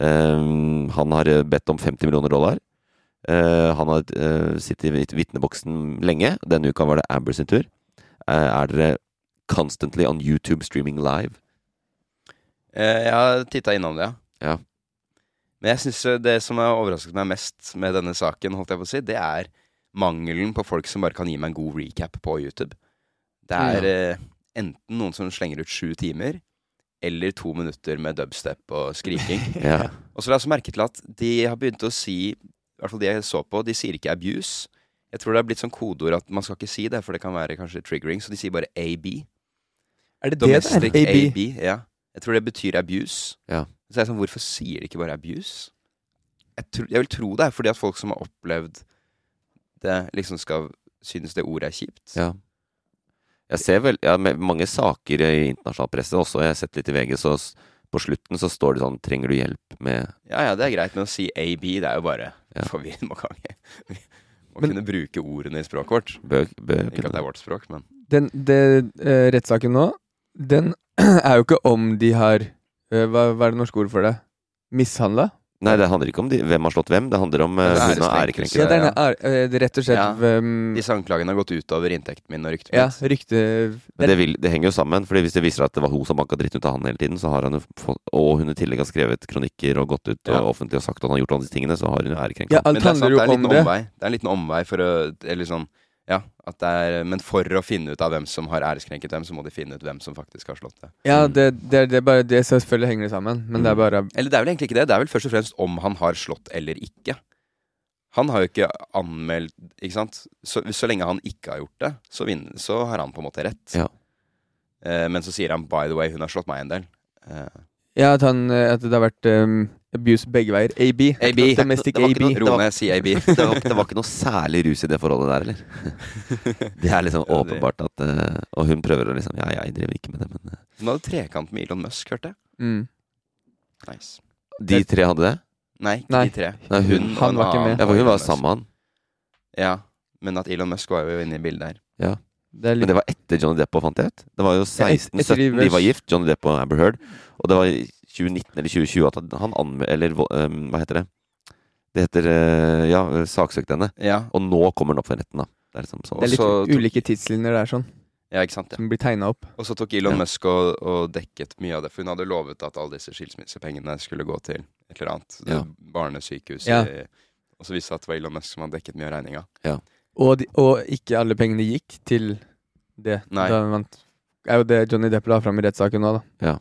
Eh, han har bedt om 50 millioner dollar. Eh, han har eh, sittet i vit- vitneboksen lenge. Denne uka var det Amber sin tur. Eh, er dere constantly on YouTube streaming live? Eh, Jeg har titta innom det, Ja. Men jeg synes eh, det som har overrasket meg mest med denne saken, holdt jeg på å si, det er mangelen på folk som bare kan gi meg en god recap på YouTube. Det er eh, enten noen som slenger ut sju timer, eller to minutter med dubstep og skriking. Ja. Og så la jeg også merke til at de har begynt å si, i hvert fall de jeg så på, de sier ikke abuse. Jeg tror det har blitt sånn kodeord at man skal ikke si det, for det kan være kanskje triggering, så de sier bare AB. Er det Domestic det AB. der? ja. Jeg tror det betyr abuse. Ja. Så er jeg sånn, hvorfor sier de ikke bare abuse? Jeg, tro, jeg vil tro det er fordi at folk som har opplevd det, liksom skal synes det ordet er kjipt. Ja. Jeg ser vel ja, med mange saker i internasjonal presse også. Jeg har sett litt i VG, så s- på slutten så står det sånn 'Trenger du hjelp med ja, ja, det er greit, men å si AB, det er jo bare Ja. For vi må, kan ikke vi må Men- kunne bruke ordene i språket vårt. bøk, bøk, Ikke at det er vårt språk, men Den det, eh, rettssaken nå, den er jo ikke om de har eh, hva, hva er det norske ordet for det? Mishandla? Nei, det handler ikke om de, hvem har slått hvem. Det handler om eh, Det er hun har ærekrenkelse. ærekrenkelse. Ja, det er ja. den er, eh, det er rett og slett Ja. hvem- disse anklagene har gått utover inntekten min og ryktet Mm. ja, mitt. rykte... Men det, vil, det henger jo sammen, Fordi hvis det viser at det var hun som banka dritten ut av han hele tiden, så har han jo fått Og hun i tillegg har skrevet kronikker og gått ut Ja. og offentlig og sagt at han har gjort alle disse tingene, så har hun jo ærekrenka. ja, Men alt det er, sant, handler jo det er en om liten det. omvei. Det er en liten omvei for å Eller sånn Ja, at det er Men for å finne ut av hvem som har æreskrenket hvem, så må de finne ut hvem som faktisk har slått det. Ja, Mm. det, det, er- det er bare det selvfølgelig henger det sammen, men det er Mm. bare Eller det er vel egentlig ikke det. Det er vel først og fremst om han har slått eller ikke. Han har jo ikke anmeldt Ikke sant? Så, så lenge han ikke har gjort det, så, vin- så har han på en måte rett. Ja. Eh, men så sier han 'by the way, hun har slått meg en del'. Eh, Ja, at, han, eh, at det har vært eh, abuse begge veier. AB. AB. Domestic Det var ikke AB. noe- Ro ned, si AB. det, var, det var ikke noe særlig rus i det forholdet der, eller? Det er liksom Ja, det- åpenbart at eh, Og hun prøver å liksom Ja, jeg driver ikke med det, men eh, Hun hadde trekant med Elon Musk, hørte jeg. Mm. Nice. eh, De tre hadde det? Nei, ikke Nei. de tre. Nei, hun- og han en var ikke annen med. Ja, for hun Elon var Musk. sammen med han. Ja, men at Elon Musk var jo inne i bildet her. Det er Men litt, det var etter Johnny Depp, fant jeg ut. Det var jo Ja, et- etter 16-17 de de var vers- gift, Johnny Depp og Amber Heard. Og det var i 2019 eller 2020 at han anmeldte Eller vo- øhm, hva heter det? Det heter øh, Ja, øh, saksøkte henne. Ja, Og nå kommer han opp for retten, da. Det er liksom så det er litt sånn, også tok- ulike tidslinjer der, sånn, ja ikke sant. Ja. som blir tegna opp. Og så tok Elon Ja. Musk og, og dekket mye av det, for hun hadde lovet at alle disse skilsmissepengene skulle gå til et eller annet. Ja. Barnesykehus. Ja. i- Og så viste det seg at det var Elon Musk som hadde dekket mye av regninga. Og, de, og ikke alle pengene gikk til det. Nei. Da vant, er jo det Johnny Depp la fram i rettssaken nå, da. Ja.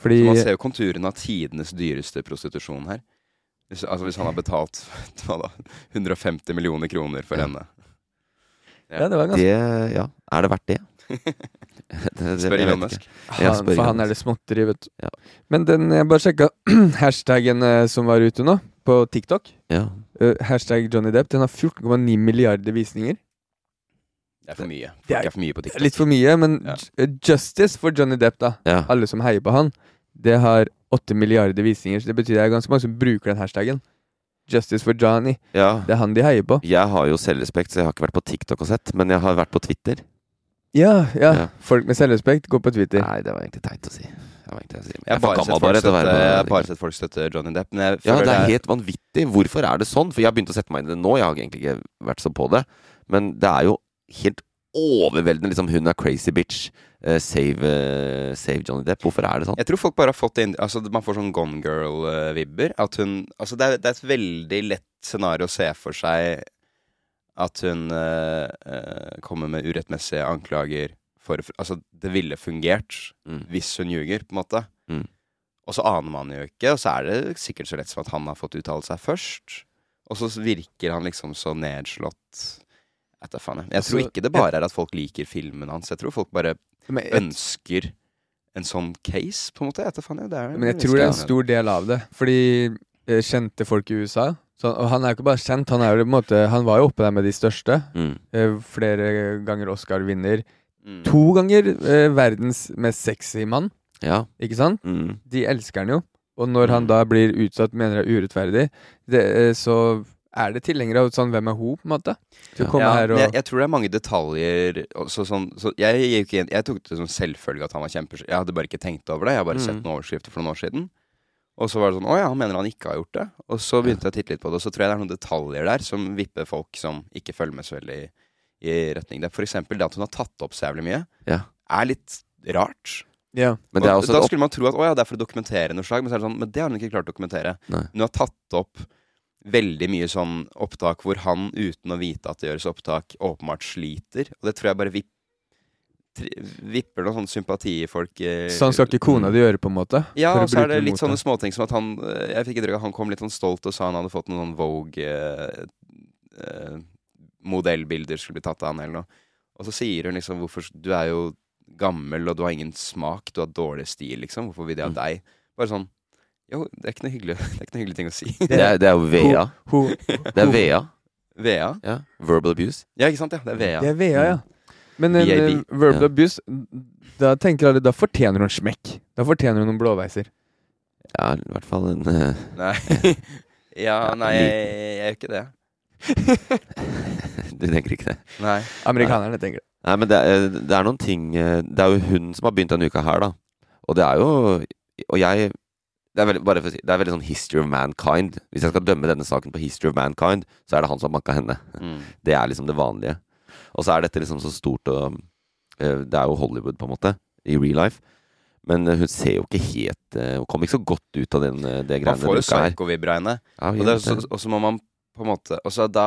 Fordi Så man ser jo konturene av tidenes dyreste prostitusjon her. Hvis, altså hvis han har betalt hva da, 150 millioner kroner for Ja. henne. Ja, det var ganske Det Ja. Er det verdt det? Det- det- Spør jeg vet Elon ikke. Musk. Ja, han, spør For Elon han er Musk. det småtteri, vet du. Ja. Men den jeg bare sjekka hashtagen eh, som var ute nå, på TikTok. Ja. eh, hashtag Johnny Depp. Den har 14,9 milliarder visninger. Det er for mye. Det Folk er- er for mye på TikTok. Litt for mye, men Ja. j- eh, justice for Johnny Depp, da. ja. Alle som heier på han, det har 8 milliarder visninger. Så det betyr det er ganske mange som bruker den hashtagen. Justice for Johnny. ja. Det er han de heier på. Jeg har jo selvrespekt, så jeg har ikke vært på TikTok og sett, men jeg har vært på Twitter. Ja, ja. Ja. Folk med selvrespekt går på Twitter. Nei, det var egentlig teit å si. Det var egentlig teit å si. Men Jeg har er for bare, gammel sett folk til å være støtte, med- jeg har bare sett folk støtte Johnny Depp. Men jeg Ja, føler det er det er, helt vanvittig. Hvorfor er det sånn? For jeg har begynt å sette meg inn i det nå. Jeg har egentlig ikke vært så på det. Men det er jo helt overveldende liksom Hun er crazy bitch. Eh, save, eh, save Johnny Depp. Hvorfor er det sånn? jeg tror folk bare har fått det inn Altså Man får sånn Gone Girl-vibber. At hun Altså det er, det er et veldig lett scenario å se for seg at hun eh, eh, kommer med urettmessige anklager for Altså, det ville fungert Mm. hvis hun ljuger, på en måte. Mm. Og så aner man jo ikke, og så er det sikkert så lett som at han har fått uttale seg først. Og så virker han liksom så nedslått. Jeg, vet da faen, jeg. jeg tror Altså, ikke det bare er at folk liker filmen hans. Jeg tror folk bare Men eh, jeg, ønsker en sånn case, på en måte. Jeg vet da faen, jeg. Det er, men jeg tror det er en stor del av det. Fordi eh, kjente folk i USA så, Og han er jo ikke bare kjent, han, er jo, på en måte, han var jo oppe der med de største. Mm. Eh, flere ganger Oscar-vinner. Mm. To ganger eh, verdens mest sexy mann. Ja. Ikke sant? Mm. De elsker han jo. Og når han Mm. da blir utsatt, mener jeg urettferdig, det, eh, så er det tilhengere av sånn hvem er ho, på en måte. Til å komme Ja, her men og jeg, jeg tror det er mange detaljer også, sånn, så jeg, gikk inn, jeg tok det som selvfølge at han var kjempesjuk. Jeg hadde bare ikke tenkt over det. Jeg har bare Mhm. Mm. sett noen overskrifter for noen år siden. Og så var det sånn Å ja, han mener han ikke har gjort det. Og så begynte jeg å titte litt på det, og så tror jeg det er noen detaljer der som vipper folk som ikke følger med så veldig i retning. Det er for eksempel det at hun har tatt opp så jævlig mye, Ja. er litt rart. Ja. Men det er Og også da et opp... skulle man tro at å ja, det er for å dokumentere noe slag, men så er det sånn, men det har hun ikke klart å dokumentere. Nei. Hun har tatt opp veldig mye sånn opptak hvor han, uten å vite at det gjøres opptak, åpenbart sliter. Og det tror jeg bare vipp, tri, vipper noen sånn sympati i folk. eh, Sånn skal ikke kona di gjøre, på en måte. ja, for å og så er bruke det det litt mot sånne deg. småting som at han eh, Jeg fikk inntrykk av at han kom litt sånn stolt og sa han hadde fått noen sånn Vogue eh, eh, modellbilder skulle bli tatt av han eller noe. Og så sier hun liksom hvorfor s- Du er jo gammel, og du har ingen smak, du har dårlig stil, liksom. Hvorfor vil de ha Mm. deg? Bare sånn Jo, det er ikke noe hyggelig, det er ikke noe hyggelig ting å si. det, er, det er jo VEA. Ho, Det er VEA. Vea? Ja. Verbal abuse. Ja, ikke sant? Ja, det er Vea. det er Vea, ja. Men en, VAB, en verbal ja. abuse, da tenker alle, da fortjener hun smekk. Da fortjener hun noen blåveiser. Ja, i hvert fall en eh, Nei. ja, Ja, nei, jeg, jeg gjør ikke det. Du tenker ikke det. Nei. Amerikanerne tenker det. Nei, men det er, det er noen ting eh, Det er jo hun som har begynt denne uka her, da. Og det er jo Og jeg det er, veldig, bare for å si, det er veldig sånn history of mankind. Hvis jeg skal dømme denne saken på history of mankind, så er det han som har banka henne. Mm. Det er liksom det vanlige. Og så er dette liksom så stort og eh, Det er jo Hollywood, på en måte, i real life. Men eh, hun ser jo ikke helt eh, Hun kommer ikke så godt ut av den, eh, det Man greiene får denne jo uka her. psycho-vibra henne. Ja, Og, det er, gjør det. så, og så må man på en måte og så da,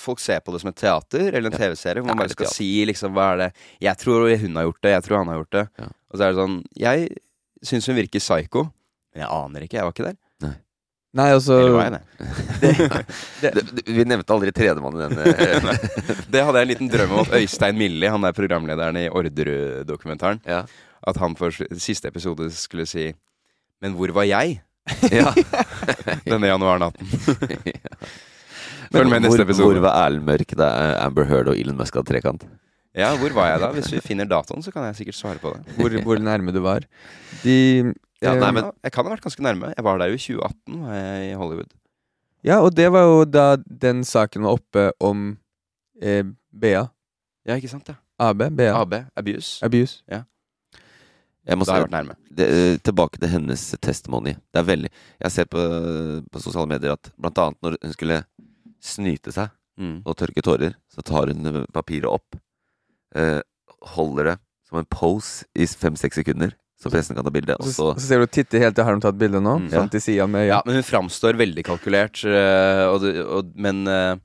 Folk ser på det som et teater eller en Ja. TV-serie, Ja, hvor man bare det er skal teater. si liksom hva er det Jeg tror hun har gjort det, jeg tror han har gjort det. Ja. Og så er det sånn Jeg syns hun virker psycho, men jeg aner ikke, jeg var ikke der. Nei, altså Øh. Eller var jeg det? det, det, vi nevnte aldri tredjemann i den. eh, Det hadde jeg en liten drøm om at Øystein Milli, han er programlederen i Orderud-dokumentaren, Ja. at han for s- siste episode skulle si Men hvor var jeg ja. denne januarnatten? Men Følg med i neste hvor, hvor episode. var Erlend Mørk da Amber Heard og Elon Musk hadde trekant? Ja, hvor var jeg da? Hvis vi finner datoen, så kan jeg sikkert svare på det. hvor, hvor nærme du var. De Ja, eh, nei, men- Jeg kan ha vært ganske nærme. Jeg var der jo i 2018, var jeg i Hollywood. ja, og det var jo da den saken var oppe om eh, BA. Ja, ikke sant, ja. AB? BA? AB, abuse. Abuse. Jeg må Da har jeg si- vært nærme. det, eh, tilbake til hennes testimony. Det er veldig Jeg ser på, på sosiale medier at blant annet når hun skulle snyte seg Mm. og tørke tårer, så tar hun eh, papiret opp, eh, holder det som en pose i fem-seks sekunder, så pressen kan ta bilde, Og og så, så og så ser du og titter helt til har de tatt bilde nå? Mm. Sånn til sida med Ja, ja. men hun framstår veldig kalkulert, øh, og, det- og, men øh,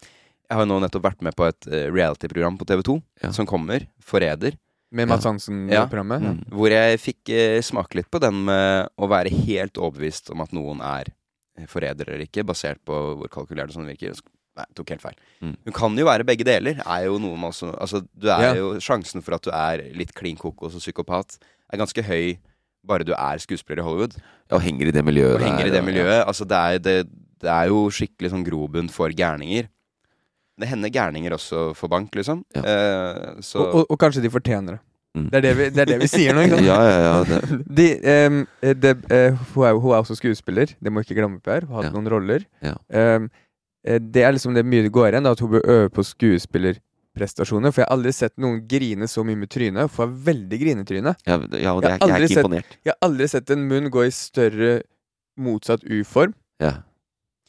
jeg har jo nå nettopp vært med på et øh, reality-program på TV2 Ja. som kommer, Forræder, Med Mads Hansen-programmet? mm. hvor jeg fikk øh, smake litt på den med å være helt overbevist om at noen er øh, forræder eller ikke, basert på hvor kalkulert det sånn virker. Nei, tok helt feil. Mm. Hun kan jo være begge deler. Er jo noe man også, altså, du er Ja. jo, sjansen for at du er litt klin kokos og psykopat, er ganske høy bare du er skuespiller i Hollywood. Og henger i det miljøet. og henger der, i det og- miljøet. Altså, det er, det, det er jo skikkelig sånn grobunn for gærninger. Det hender gærninger også for bank, liksom. Ja. Eh, så Og, og, og kanskje de fortjener det. Mm. Det er det vi, det er det vi sier nå. Ikke sant? Ja, ja, ja. Det, De, ehm, eh, det, eh, hun, er, jo- hun er også skuespiller, det må ikke glemme Per. Hun har hatt Ja. noen roller. Ja. Ehm, eh, det er liksom det mye det går igjen, da, at hun bør øve på skuespillerprestasjoner. For jeg har aldri sett noen grine så mye med trynet. For hun er veldig grinetryne. ja, det- ja og det, jeg, Jeg har jeg er aldri ikke sett- imponert. Jeg har aldri sett en munn gå i større motsatt U-form Ja.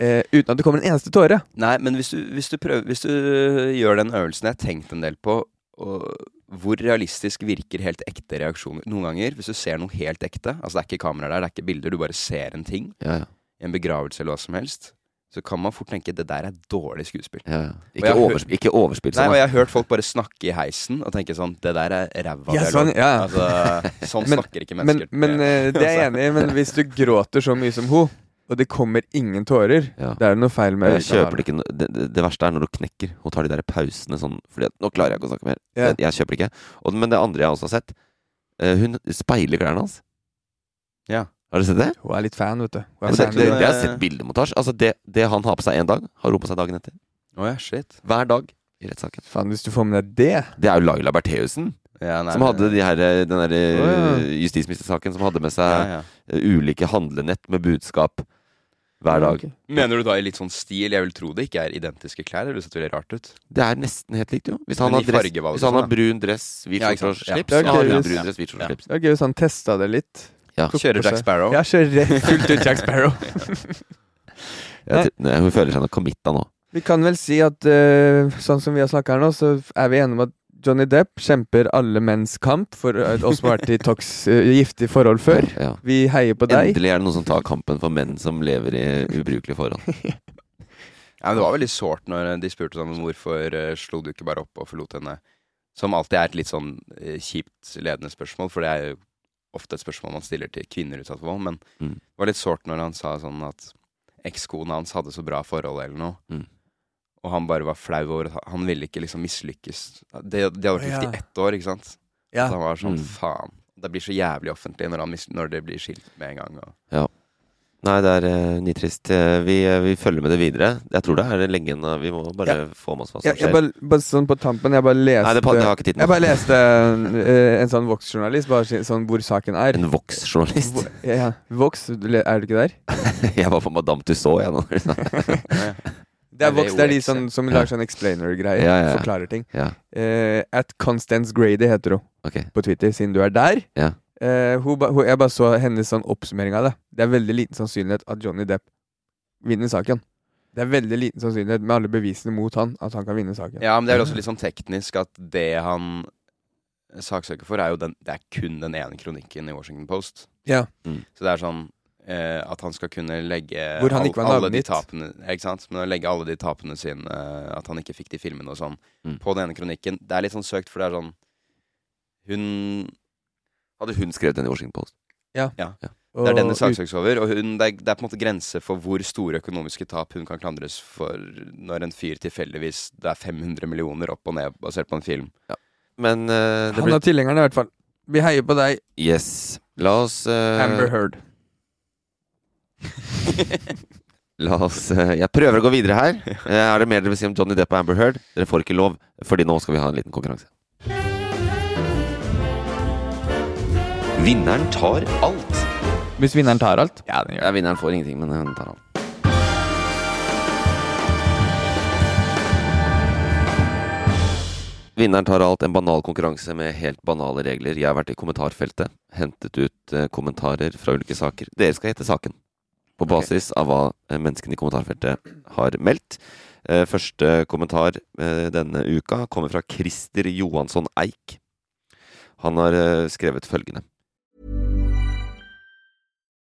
eh, uten at det kommer en eneste tåre. Nei, men hvis du, hvis, du prøver, hvis du øh, gjør den øvelsen jeg har tenkt en del på, og hvor realistisk virker helt ekte reaksjoner? Noen ganger, hvis du ser noe helt ekte, altså det er ikke kameraer der, det er ikke bilder, du bare ser en ting, Ja, ja. en begravelse eller hva som helst, så kan man fort tenke det der er dårlig skuespill. ja, ja. jeg Ikke, har oversp ikke overspill Nei, sånn. og da. jeg har hørt folk bare snakke i heisen og tenke sånn Det der er ræva Ja, dialog. sånn, ja. Altså, sånn Men- snakker ikke Men, mennesker. men eh, det er jeg enig i. Men hvis du gråter så mye som hun, og det kommer ingen tårer, Ja. da er det noe feil med Jeg kjøper det ikke no- det, det, det verste er når du knekker og tar de der pausene sånn Fordi at nå klarer jeg ikke å snakke mer. Ja. Jeg, jeg kjøper det ikke. Og, men det andre jeg også har sett eh, Hun speiler klærne hans. Ja. Har du sett det? Hun er litt fan, vet du. Hun Jeg er har fan. sett sett, Altså, det, det- jeg har sett bildemontasje. Altså det, det han har på seg én dag, har hun på seg dagen etter. eh, Å ja, shit. Hver dag i rettssaken. Faen, hvis du får med deg det Det er jo Laila Bertheussen. Ja, nei, Som hadde de her, eh, den derre Å, ja. justisministersaken som hadde med ja, seg ja. eh, ulike handlenett med budskap hver dag. Ok. Mener du da i litt sånn stil? Jeg vil tro det ikke er identiske klær. Det ville sett veldig rart ut. Det er nesten helt likt, jo. Hvis han, Men har, i dress, fargevalg og hvis han sånn, har da. brun dress, hvit Ja, ikke skjorte og sant. Ja. slips, Det er så har ok, han hvis- brun dress, hvit skjorte Ja. og slips. Det var gøy hvis han testa det litt. Ja. Tok Kjører på Jack seg- Sparrow. Ja, kjører rett fullt ut Jack Sparrow. Jeg, tror- nei, hun føler seg nok committa nå. Vi kan vel si at eh, sånn som vi har snakka her nå, så er vi enige om at Johnny Depp kjemper alle menns kamp for eh, oss som har vært i toks, eh, giftige forhold før. Ja. Vi heier på deg. Endelig er det noen som tar kampen for menn som lever i ubrukelige forhold. Ja, men Det var veldig sårt når eh, de spurte sånn hvorfor eh, slo du ikke bare opp og forlot henne. Som alltid er et litt sånn eh, kjipt ledende spørsmål, for det er jo ofte et spørsmål man stiller til kvinner utsatt for vold. Men Mm. det var litt sårt når han sa sånn at ekskona hans hadde så bra forhold eller noe. Mm. Og han bare var flau over at han ville ikke liksom mislykkes. Det, de hadde vært Ja. gift i ett år, ikke sant? Ja. Så han var sånn Mm. faen. Det blir så jævlig offentlig når, han mis når det blir skilt med en gang. Og Nei, det er eh, nitrist. Eh, Vi, eh, vi følger med det videre. Jeg tror det er lenge enn eh, Vi må bare få med oss hva som Jeg, jeg skjer. bare, bare sånn på tampen, jeg bare leste Nei, det, pa- det har ikke tid Jeg nå. bare leste eh, en sånn Vox-journalist, bare si- sånn hvor saken er. En Vox-journalist. Hvor- Ja, Vox, du le- er du ikke der? Jeg var på Madame Tussauds, jeg nå. Det er Er det Vox, det er de OX, ja? som, som lager sånn explainer-greier. Ja, ja, ja. Forklarer ting. Ja, Eh, at Constance Grady heter hun ok. på Twitter, siden du er der. Ja. Eh, hun, ba- hun, jeg bare så hennes sånn oppsummering av det. Det er veldig liten sannsynlighet at Johnny Depp vinner saken. Det er veldig liten sannsynlighet med alle bevisene mot han at han kan vinne saken. Ja, men det er vel også litt sånn teknisk at det han saksøker for, er jo den Det er kun den ene kronikken i Washington Post. Ja. Mm. Så det er sånn eh, at han skal kunne legge Hvor han ikke var alle de navngitt. tapene ja, Ikke sant? Men å legge alle de tapene sine, eh, at han ikke fikk de filmene og sånn, Mm. på den ene kronikken Det er litt sånn søkt, for det er sånn Hun Hadde hun skrevet den i Washington Post? Det er den Og det ut- saksøkes over, og hun, det, er, det er på en måte grenser for hvor store økonomiske tap hun kan klandres for når en fyr tilfeldigvis Det er 500 millioner opp og ned basert på en film. Men eh, det Han blir har tilhengerne, i hvert fall. Vi heier på deg, Yes. La oss eh, Amber Heard. La oss eh, Jeg prøver å gå videre her. Eh, er det mer dere vil si om Johnny Depp og Amber Heard? Dere får ikke lov, fordi nå skal vi ha en liten konkurranse. Vinneren tar alt. Hvis vinneren tar alt. Ja, vinneren får ingenting, men hun tar alt. Vinneren tar alt, en banal konkurranse med helt banale regler. Jeg har vært i kommentarfeltet, hentet ut eh, kommentarer fra ulike saker. Dere skal gjette saken, på basis av hva eh, menneskene i kommentarfeltet har meldt. Eh, Første kommentar eh, denne uka kommer fra Christer Johansson Eik. Han har eh, skrevet følgende.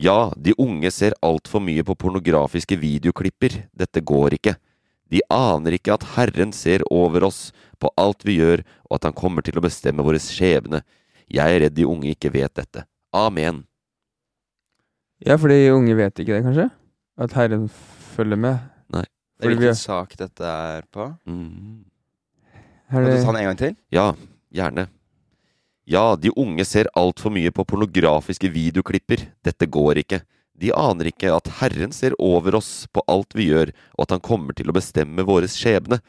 Ja, de unge ser altfor mye på pornografiske videoklipper. Dette går ikke. De aner ikke at Herren ser over oss, på alt vi gjør, og at Han kommer til å bestemme vår skjebne. Jeg er redd de unge ikke vet dette. Amen. Ja, fordi unge vet ikke det, kanskje? At Herren følger med. Det er Fordi vi er- Hvilken sak dette er på? Mm. Er Kan du det, ta den en gang til? Ja, gjerne. Ja, de unge ser altfor mye på pornografiske videoklipper. Dette går ikke. De aner ikke at Herren ser over oss på alt vi gjør, og at Han kommer til å bestemme våres skjebne.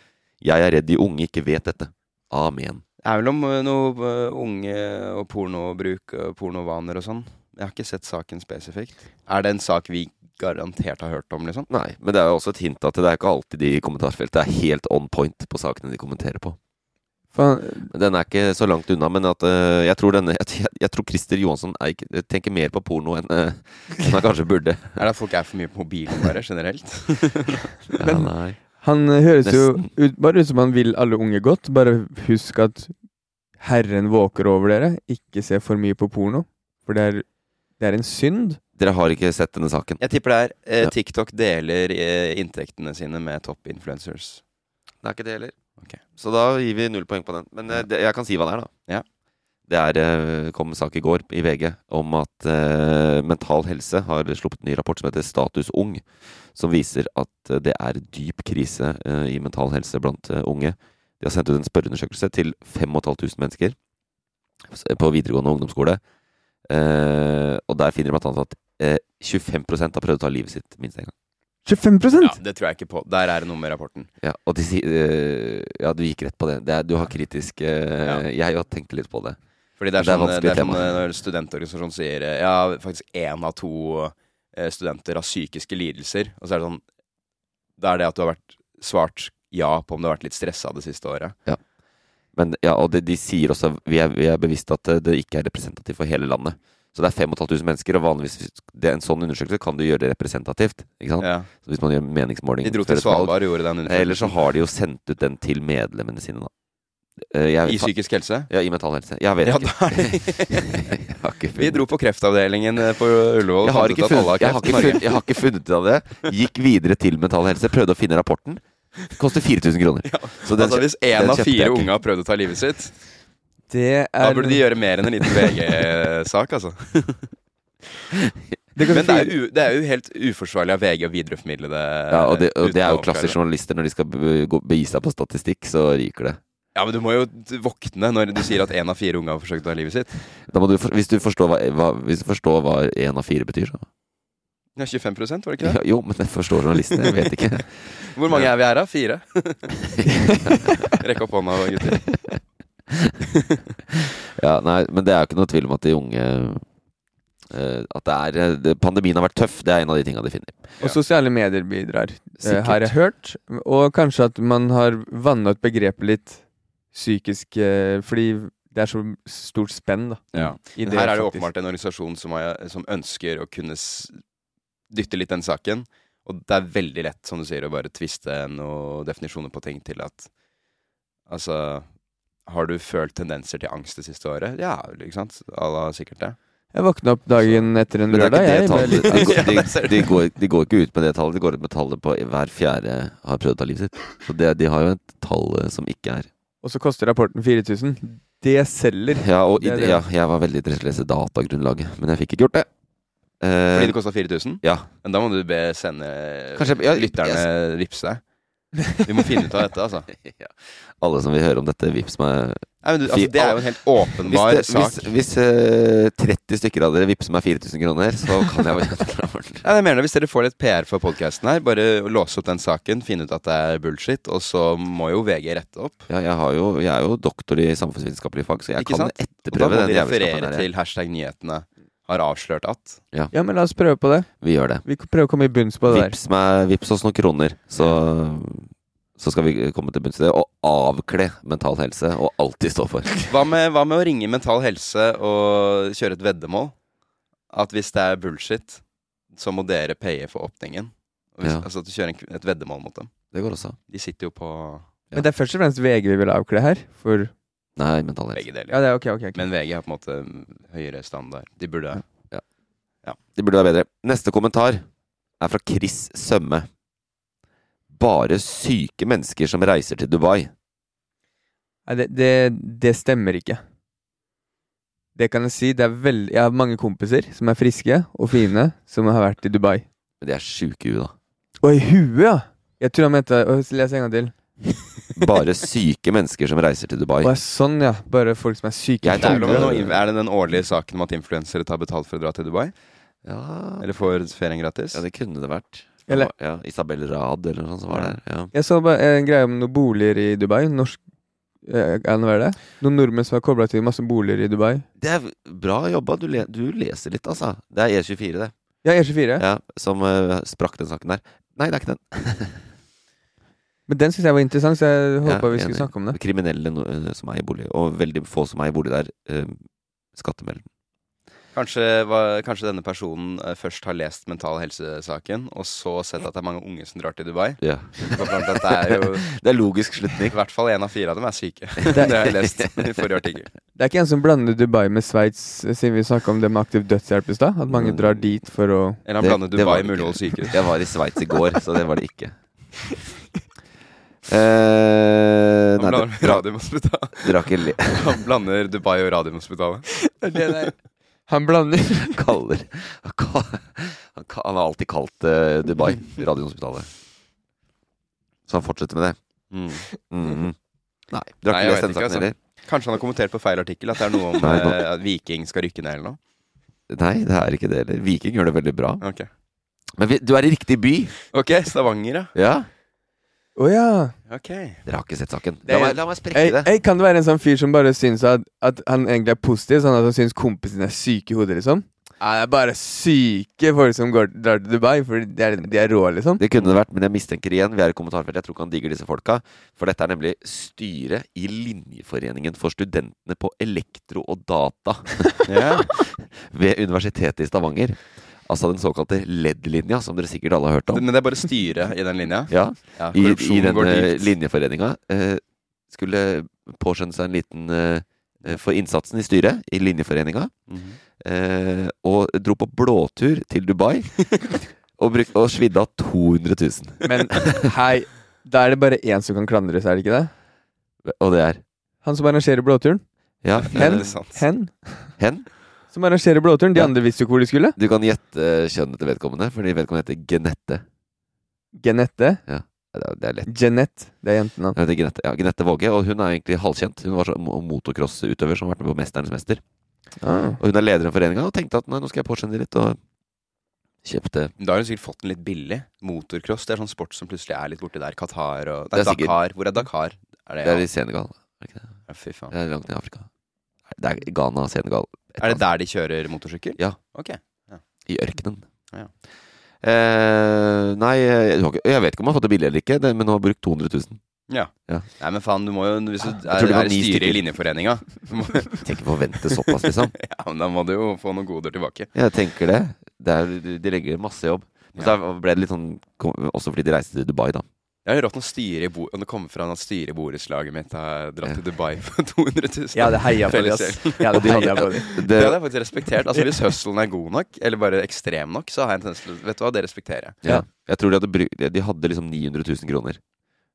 Jeg er redd de unge ikke vet dette. Amen. Det er vel om eh, noe eh, unge og pornobruk og pornovaner og sånn. Jeg har ikke sett saken spesifikt. Er det en sak vi garantert har hørt om, liksom? Nei, men det er jo også et hint at det er ikke alltid de i kommentarfeltet er helt on point på sakene de kommenterer på. faen, Den er ikke så langt unna, men at, øh, jeg, tror denne, jeg, jeg tror Christer Johansson er ikke, tenker mer på porno enn øh, enn han kanskje burde. Er det at folk er for mye på mobilen bare, generelt? Ja, nei. han eh, høres jo Nesten. ut, bare ut som han vil alle unge godt. Bare husk at Herren våker over dere. Ikke se for mye på porno. For det er, det er en synd. Dere har ikke sett denne saken? Jeg tipper det er eh, Ja. TikTok deler eh, inntektene sine med top influencers. Det er ikke det heller. Ok. Så da gir vi null poeng på den. Men eh, det, jeg kan si hva det er, da. Ja. Det er, eh, kom en sak i går i VG om at eh, Mental Helse har sluppet en ny rapport som heter Status ung, som viser at eh, det er dyp krise eh, i mental helse blant eh, unge. De har sendt ut en spørreundersøkelse til 5500 mennesker s- på videregående og ungdomsskole. Eh, og der finner de blant annet at eh, 25 har prøvd å ta livet sitt minst en gang. 25 Ja, det tror jeg ikke på. Der er det noe med rapporten. Ja, og de sier eh, Ja, du gikk rett på det. det er, du har kritisk eh, Jeg har tenkt litt på det. Fordi det er Det er sånn, vanskelig det er sånn tema. eh, når studentorganisasjonen sier eh, Ja, faktisk én av to eh, studenter har psykiske lidelser. Og så er det sånn Da er det at du har vært svart ja på om du har vært litt stressa det siste året. Men ja, og det, de sier også vi er, vi er bevisst at eh, det ikke er representativt for hele landet. Så det er 5500 mennesker, og vanligvis hvis- det er en sånn undersøkelse kan du gjøre det representativt. Ikke sant? Ja. Så hvis man gjør meningsmåling De dro før til et valg- Svalbard og gjorde den Eller så undersøkelsen. har de jo sendt ut den til medlemmene sine, da. Eh, jeg- I psykisk helse? Ja, i Mental Helse. Jeg vet Ja, ikke. da- jeg har ikke Vi funnet dro på kreftavdelingen eh, på Ullevål. jeg har, fant ut ikke at alle funnet, jeg, har kreft i ikke Norge. funnet, jeg har ikke funnet ut av det. Gikk videre til Mental Helse, prøvde å finne rapporten. Koster 4000 kroner. Så den altså, kjø- hvis én den av kjøpte fire jeg ikke. unge har prøvd å ta livet sitt, Det da er burde de gjøre mer enn en liten VG-sak, altså. det kan Men det er, vi- jo, u- det er jo helt uforsvarlig av VG å videreformidle det. ja, og det, og uten det er jo å klassisk avklare det. journalister. Når de skal be- gå- begi seg på statistikk, så ryker det. Ja, men du må jo t- våkne når du sier at én av fire unge har forsøkt å ta livet sitt. Da må du, for- hvis, du forstår hva, hva, hvis du forstår hva én av fire betyr, så Ja, 25 var det ikke det? ja, Jo, men jeg forstår journalistene. Jeg vet ikke. Hvor mange er vi her, da? Fire? Rekk opp hånda, gutter. Ja, nei, men det er jo ikke noe tvil om at de unge eh, At det er eh, det, Pandemien har vært tøff. Det er en av de tinga de finner. Og sosiale medier bidrar, eh, Sikkert. har jeg hørt. Og kanskje at man har vanna ut begrepet litt psykisk eh, Fordi det er så stort spenn, da. Ja. i Men her er det faktisk. åpenbart en organisasjon som, har, som ønsker å kunne s dytte litt den saken. Og det er veldig lett, som du sier, å bare tviste noen definisjoner på ting til at Altså Har du følt tendenser til angst det siste året? Ja, ikke sant? Alle har sikkert det. Jeg våkna opp dagen etter en Men det er lørdag, ikke jeg. det tallet. ble litt- De, går- Ja, det de, ser de, går, de går ikke ut med det tallet. De går ut med tallet på hver fjerde har prøvd å ta livet sitt. Så det, de har jo et tall eh, som ikke er Og så koster rapporten 4000. Det selger. Ja, og i, Det er det. ja, jeg var veldig interessert i å lese datagrunnlaget, men jeg fikk ikke gjort det. Eh, Fordi det kosta 4000? ja. Men da må du be sende Kanskje- ja, lytterne vippse deg. Vi må finne ut av dette, altså. ja. Alle som vil høre om dette, vips meg Nei, men du, altså det er jo en helt Hvis, åpenbar det, hvis, sak. hvis eh, 30 stykker av dere vipser meg 4000 kroner, så kan jeg vel gjøre Nei, jeg mener det, Hvis dere får litt PR for podkasten her, bare låse opp den saken, finne ut at det er bullshit, og så må jo VG rette opp. ja, jeg, har jo, jeg er jo doktor i samfunnsvitenskapelige fag, så jeg Ikke kan sant? Og da etterprøve må den de jævelskapen referere her. til hashtag nyhetene har avslørt at. Ja, men la oss prøve på det. Vi gjør det. Vi kan prøve å komme i bunns på det der. Vips, meg, vips oss noen kroner, så, så skal vi komme til bunns i det. Og avkle mental helse, og alltid stå for. Hva med, hva med å ringe Mental Helse og kjøre et veddemål? At hvis det er bullshit, så må dere paye for åpningen. Og Hvis, Ja. Altså at du kjører en, et veddemål mot dem. Det går også. De sitter jo på Men det er først og fremst VG vi vil avkle her. For Nei, mentalhet. Begge deler. Ja, det er ok, ok. ok. Men VG har på en måte mm, høyere standard. De burde De burde være bedre. Neste kommentar er fra Chris Sømme. Bare syke mennesker som reiser til Dubai. Nei, det, det, det stemmer ikke. Det kan jeg si. Det er veld... Jeg har mange kompiser som er friske og fine, som har vært i Dubai. Men de er sjuke i huet, da. Og i huet, ja! Jeg tror han mente Å, Les en gang til. Bare syke mennesker som reiser til Dubai. Å, sånn, ja. Bare folk som er syke. Jeg Det er, vel trodde- noe- er det den årlige saken om at influensere tar betalt for å dra til Dubai? Ja, Eller får ferien gratis? ja, det kunne det vært. Eller- Ja, Isabel Rad eller noe sånt som var der. Ja. Jeg så bare en greie om noen boliger i Dubai. Norsk eh, Kan det være det? Noen nordmenn som er kobla til masse boliger i Dubai. Det er bra jobba. Du, le du leser litt, altså. Det er E24, det. Ja, E24. Ja, som eh, sprakk den saken der. Nei, det er ikke den. Men den syns jeg var interessant, så jeg Ja, håpa vi enig. skulle snakke om det. Kriminelle no eh, som eier bolig, og veldig få som eier bolig der, eh, skattemelder. Kanskje, hva- kanskje denne personen eh, først har lest Mental Helse-saken, og så sett at det er mange unge som drar til Dubai. Ja. Og blant annet at det er jo Det er logisk i slutning. hvert fall én av fire av dem er syke. Det har jeg lest i forrige artikkel. Det er ikke en som blander Dubai med Sveits, eh, siden vi snakka om det med aktiv dødshjelp i stad. At mange Mm. drar dit for å Eller han blandet var Dubai det ikke. med Ullevål sykehus. Jeg var i Sveits i går, så det var det ikke. Eh, Han nei, blander, det- dra, Radiumhospitalet. dra ikke le... han blander Dubai og Radiumhospitalet. Han blander Kaller han ka- han ka- Han har alltid kalt eh, Dubai Radiohospitalet. Så han fortsetter med det. Mm. Mhm. Nei, du har Nei, ikke jeg lest vet den ikke, saken altså. heller? Kanskje han har kommentert på feil artikkel at det er noe om Nei, nå- eh, at Viking skal rykke ned eller noe. Nei, det er ikke det heller. Viking gjør det veldig bra. Ok, Men vi, du er i riktig by! Ok, Stavanger, ja. Ja Å ja. Ok. Dere har ikke sett saken. Det La er- meg, la meg Ei, sprekke det. ei, kan det være en sånn fyr som bare syns at, at han egentlig er positiv, sånn at han syns kompisen er syk i hodet, liksom? Nei, det er bare syke folk som går, drar til Dubai, for de er, de er rå, liksom. Det kunne det vært, men jeg mistenker igjen. Vi er i kommentarfeltet. Jeg tror ikke han digger disse folka. For dette er nemlig styret i Linjeforeningen for studentene på elektro og data ved Universitetet i Stavanger. Altså den såkalte LED-linja, som dere sikkert alle har hørt om. Men det er bare styret i den linja. Ja, Ja, I, i korrupsjonen den går eh, dypt. linjeforeninga eh, skulle påskjønne seg en liten eh, eh, for innsatsen i styret i linjeforeninga. Mhm. eh, og dro på blåtur til Dubai. og, bruk, og svidde av 200 000. Men hei, da er det bare én som kan klandres, er det ikke det? Og det er Han som arrangerer blåturen. Ja, Er Hen. det sant? Hen. hen. Som arrangerer blåturen. De Ja. andre visste jo ikke hvor de skulle. Du kan gjette kjønnet til vedkommende, fordi vedkommende heter Genette. Genette. Det er, det er lett. Jeanette. Det er jentenavn. Hun heter Genette, ja, Genette Våge, og hun er egentlig halvkjent. Hun var så mo- motocrossutøver som har vært med på Mesterens mester. Ah. Og hun er leder av foreninga og tenkte at nei, nå skal jeg påskjønne det litt, og kjøpte Men Da har hun sikkert fått den litt billig. Motocross det er sånn sport som plutselig er litt borti der. Qatar og Det Nei, er sikkert- Dakar. Hvor er Dakar? Er det, Det er ja. i Senegal. er det ikke det? Ja, Fy faen. Det er langt ned i Afrika. Nei, Det er Ghana, Senegal et Er eller det annet der de kjører motorsykkel? Ja. Ok. I ørkenen. Ja. Eh, nei, jeg, har ikke- jeg vet ikke om hun har fått det billig eller ikke, det, men hun har brukt 200 000. Nei, men faen, du må jo Hvis du tror er, det var er i ni styret i stykker. Linjeforeninga, du må- Tenk å forvente såpass, liksom. ja, men da må du jo få noen goder tilbake. Jeg tenker det. det er, de legger masse jobb. Men Ja. så ble det litt sånn kom- Også fordi de reiste til Dubai, da. Det er jo rått når styret i bo- når det kommer fra at styret i borettslaget mitt har dratt til Dubai for 200 000. Jeg hadde heia på dem, ass. Felleshjelp. Jeg hadde heia på dem. Det, Det hadde jeg faktisk respektert. Altså Hvis høsselen er god nok, eller bare ekstrem nok, så har jeg en tendens til Vet du hva, det respekterer jeg. ja. Jeg tror de hadde, brukt, de hadde liksom 900 000 kroner.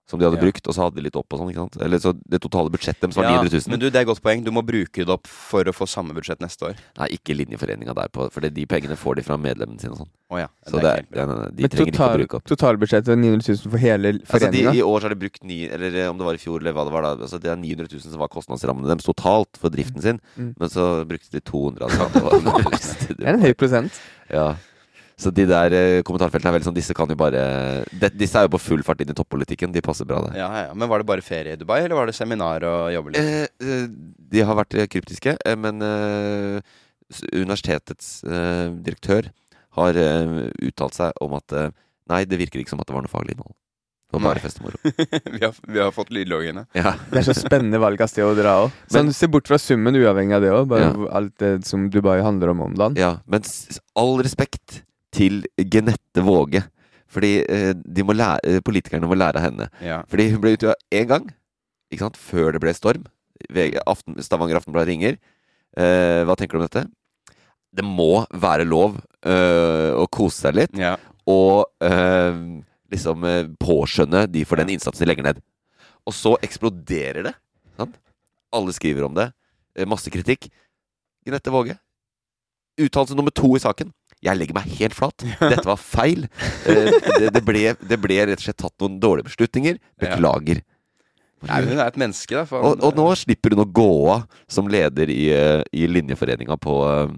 Som de hadde Ja. brukt, og så hadde de litt opp og sånn. ikke sant? Eller så det totale budsjettet deres var 900 000. Men du, det er et godt poeng. Du må bruke det opp for å få samme budsjett neste år. Nei, ikke linjeforeninga der, på, for det- de pengene får de fra medlemmene sine og sånn. Å ja. Så det er det helt er, ja, bra. nei, nei, de Men trenger ikke å total, bruke opp. totalbudsjettet er 900 000 for hele Altså, de, foreninga. I år så har de brukt ni, eller eh, om det var i fjor, eller hva det var da altså, Det er 900 000 som var kostnadsrammene deres totalt for driften sin, Mm. men så brukte de 200 altså, det var- når de reiste til Det er en Dubai. høy prosent. ja. Så de der eh, kommentarfeltene er veldig sånn Disse kan jo bare de, Disse er jo på full fart inn i toppolitikken. De passer bra der. Ja, ja, ja. Men var det bare ferie i Dubai, eller var det seminar og liksom? jobbe litt? Eh, eh, de har vært eh, kryptiske, eh, men eh, s- universitetets eh, direktør har eh, uttalt seg om at eh, nei, det virker ikke som at det var noe faglig innhold. Det var Nei. bare fest og moro. vi, har, vi har fått lydloggene. Ja. Det er så spennende valg av sted å dra òg. Men- Sånn, se bort fra summen, uavhengig av det òg. Ja. Bare hvor- alt det som Dubai handler om om dagen. ja, men s- all respekt til Genette Våge Fordi eh, de må lære, eh, politikerne må lære av henne. Ja. Fordi hun ble utvida én gang, ikke sant? før det ble storm. VG, Aften, Stavanger Aftenblad ringer. Eh, hva tenker du om dette? Det må være lov eh, å kose seg litt, Ja. og eh, liksom eh, påskjønne de for den innsatsen de legger ned. Og så eksploderer det. Sant? Alle skriver om det. Eh, Masse kritikk. Gnette Våge. Uttalelse nummer to i saken. Jeg legger meg helt flat. Dette var feil. Eh, Det, det, ble, det ble rett og slett tatt noen dårlige beslutninger. Beklager. Nei, men hun er et menneske, da. faen. Og, og nå slipper hun å gå av som leder i, eh, i linjeforeninga på, eh,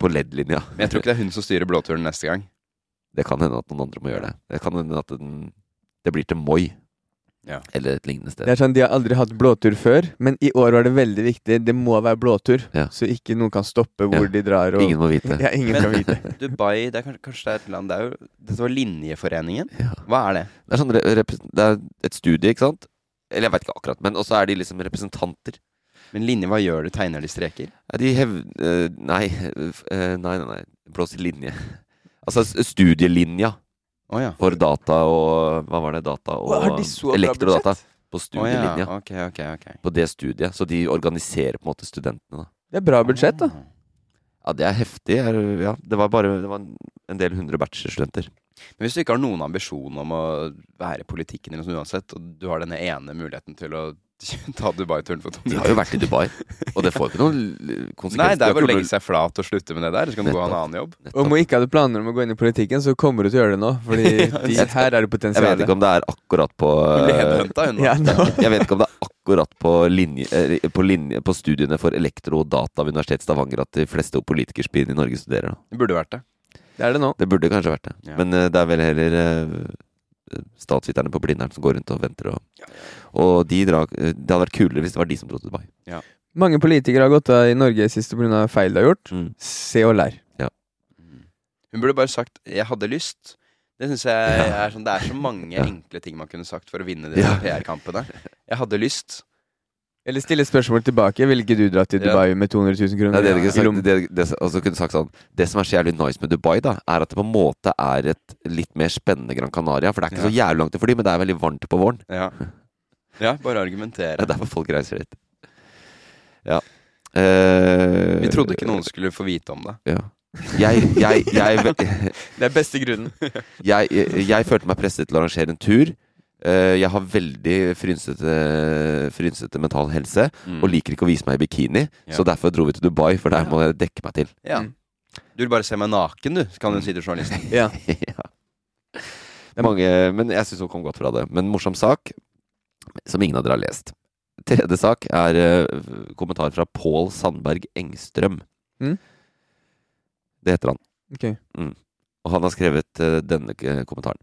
på LED-linja. Men jeg tror ikke det er hun som styrer blåturen neste gang. Det kan hende at noen andre må gjøre det. Det kan hende at den, det blir til Moi. Ja. Eller et lignende sted. Det er sånn, De har aldri hatt blåtur før, men i år var det veldig viktig. Det må være blåtur, Ja. så ikke noen kan stoppe hvor Ja. de drar. Og... Ingen må vite. Ja, ingen Men- kan vite. Dubai, det er kanskje, kanskje det er et land Det er jo Dette var Linjeforeningen? Ja. Hva er det? Det er, sånn, re- repre- det er et studie, ikke sant? Eller jeg veit ikke akkurat, men også er de liksom representanter. Men linje, hva gjør du? Tegner de streker? Nei, De hev... eh, Nei, eh, nei, nei, nei. Blås i linje. Altså s- studielinja Å ja. for data og Hva var det? Data og elektrodata. På Å ja. studielinja. Ok, ok, ok. På det studiet. Så de organiserer på en måte studentene, da. Det er bra budsjett, da. Ah. Ja, det er heftig. er- Ja, det var bare det var en del hundre bachelorstudenter. Men hvis du ikke har noen ambisjon om å være i politikken eller noe sånt uansett, og du har denne ene muligheten til å ta Dubai-turen for to De har jo vært i Dubai, og det får ikke noen l- Nei, konsekvenser. det er bare å ikke legge noe- seg flat og slutte med det der, så kan du gå og ha en annen jobb. Og om hun ikke hadde planer om å gå inn i politikken, så kommer hun til å gjøre det nå. Fordi de, her er det Jeg vet potensial. ikke om det er akkurat på Hun ble eh, headhunta, hun. Ja, nå. nå. Jeg vet ikke om det er akkurat på, linje, eh, på, linje, på studiene for elektro og data ved Universitetet i Stavanger at de fleste politikerspiene i Norge studerer. Da. Det burde vært det. Det er det nå. Det burde kanskje vært det. Ja. Men eh, det er vel heller eh, statsviterne på Blindern som går rundt og venter. Og, og de drar, eh, det hadde vært kulere hvis det var de som dro til Dubai. Mange politikere har gått av i Norge sist pga. feil de har gjort. Mm. Se og lær. Hun burde bare sagt 'jeg hadde lyst'. Det synes jeg Ja. er sånn Det er så mange Ja. enkle ting man kunne sagt for å vinne de Ja. PR-kampene. Jeg hadde lyst. Eller stille spørsmål tilbake. Ville ikke du dratt til Ja. Dubai med 200 000 kroner? Nei, det, dere kunne i sagt, lommen? det, det, altså kunne sagt sånn Det som er så jævlig nice med Dubai, da, er at det på en måte er et litt mer spennende Gran Canaria. For det er ikke så jævlig langt for dem, men det er veldig varmt på våren. Ja, ja bare Det argumentere. er derfor folk reiser dit. Ja. Eh, Vi trodde ikke noen skulle få vite om det. ja. jeg, jeg, jeg, jeg, Det er beste grunnen. jeg, jeg følte meg presset til å arrangere en tur. Eh, Jeg har veldig frynsete, frynsete mental helse Mm. og liker ikke å vise meg i bikini. Ja. Så derfor dro vi til Dubai, for der må jeg dekke meg til. Ja. Du vil bare se meg naken, du, kan hun si til journalisten. Ja. ja. Det er mange, men jeg syns hun kom godt fra det. Men morsom sak som ingen av dere har lest. Tredje sak er eh, kommentar fra Pål Sandberg Engstrøm. Mm. Det heter han. Mm. Ok. Og han har skrevet eh, denne eh, kommentaren.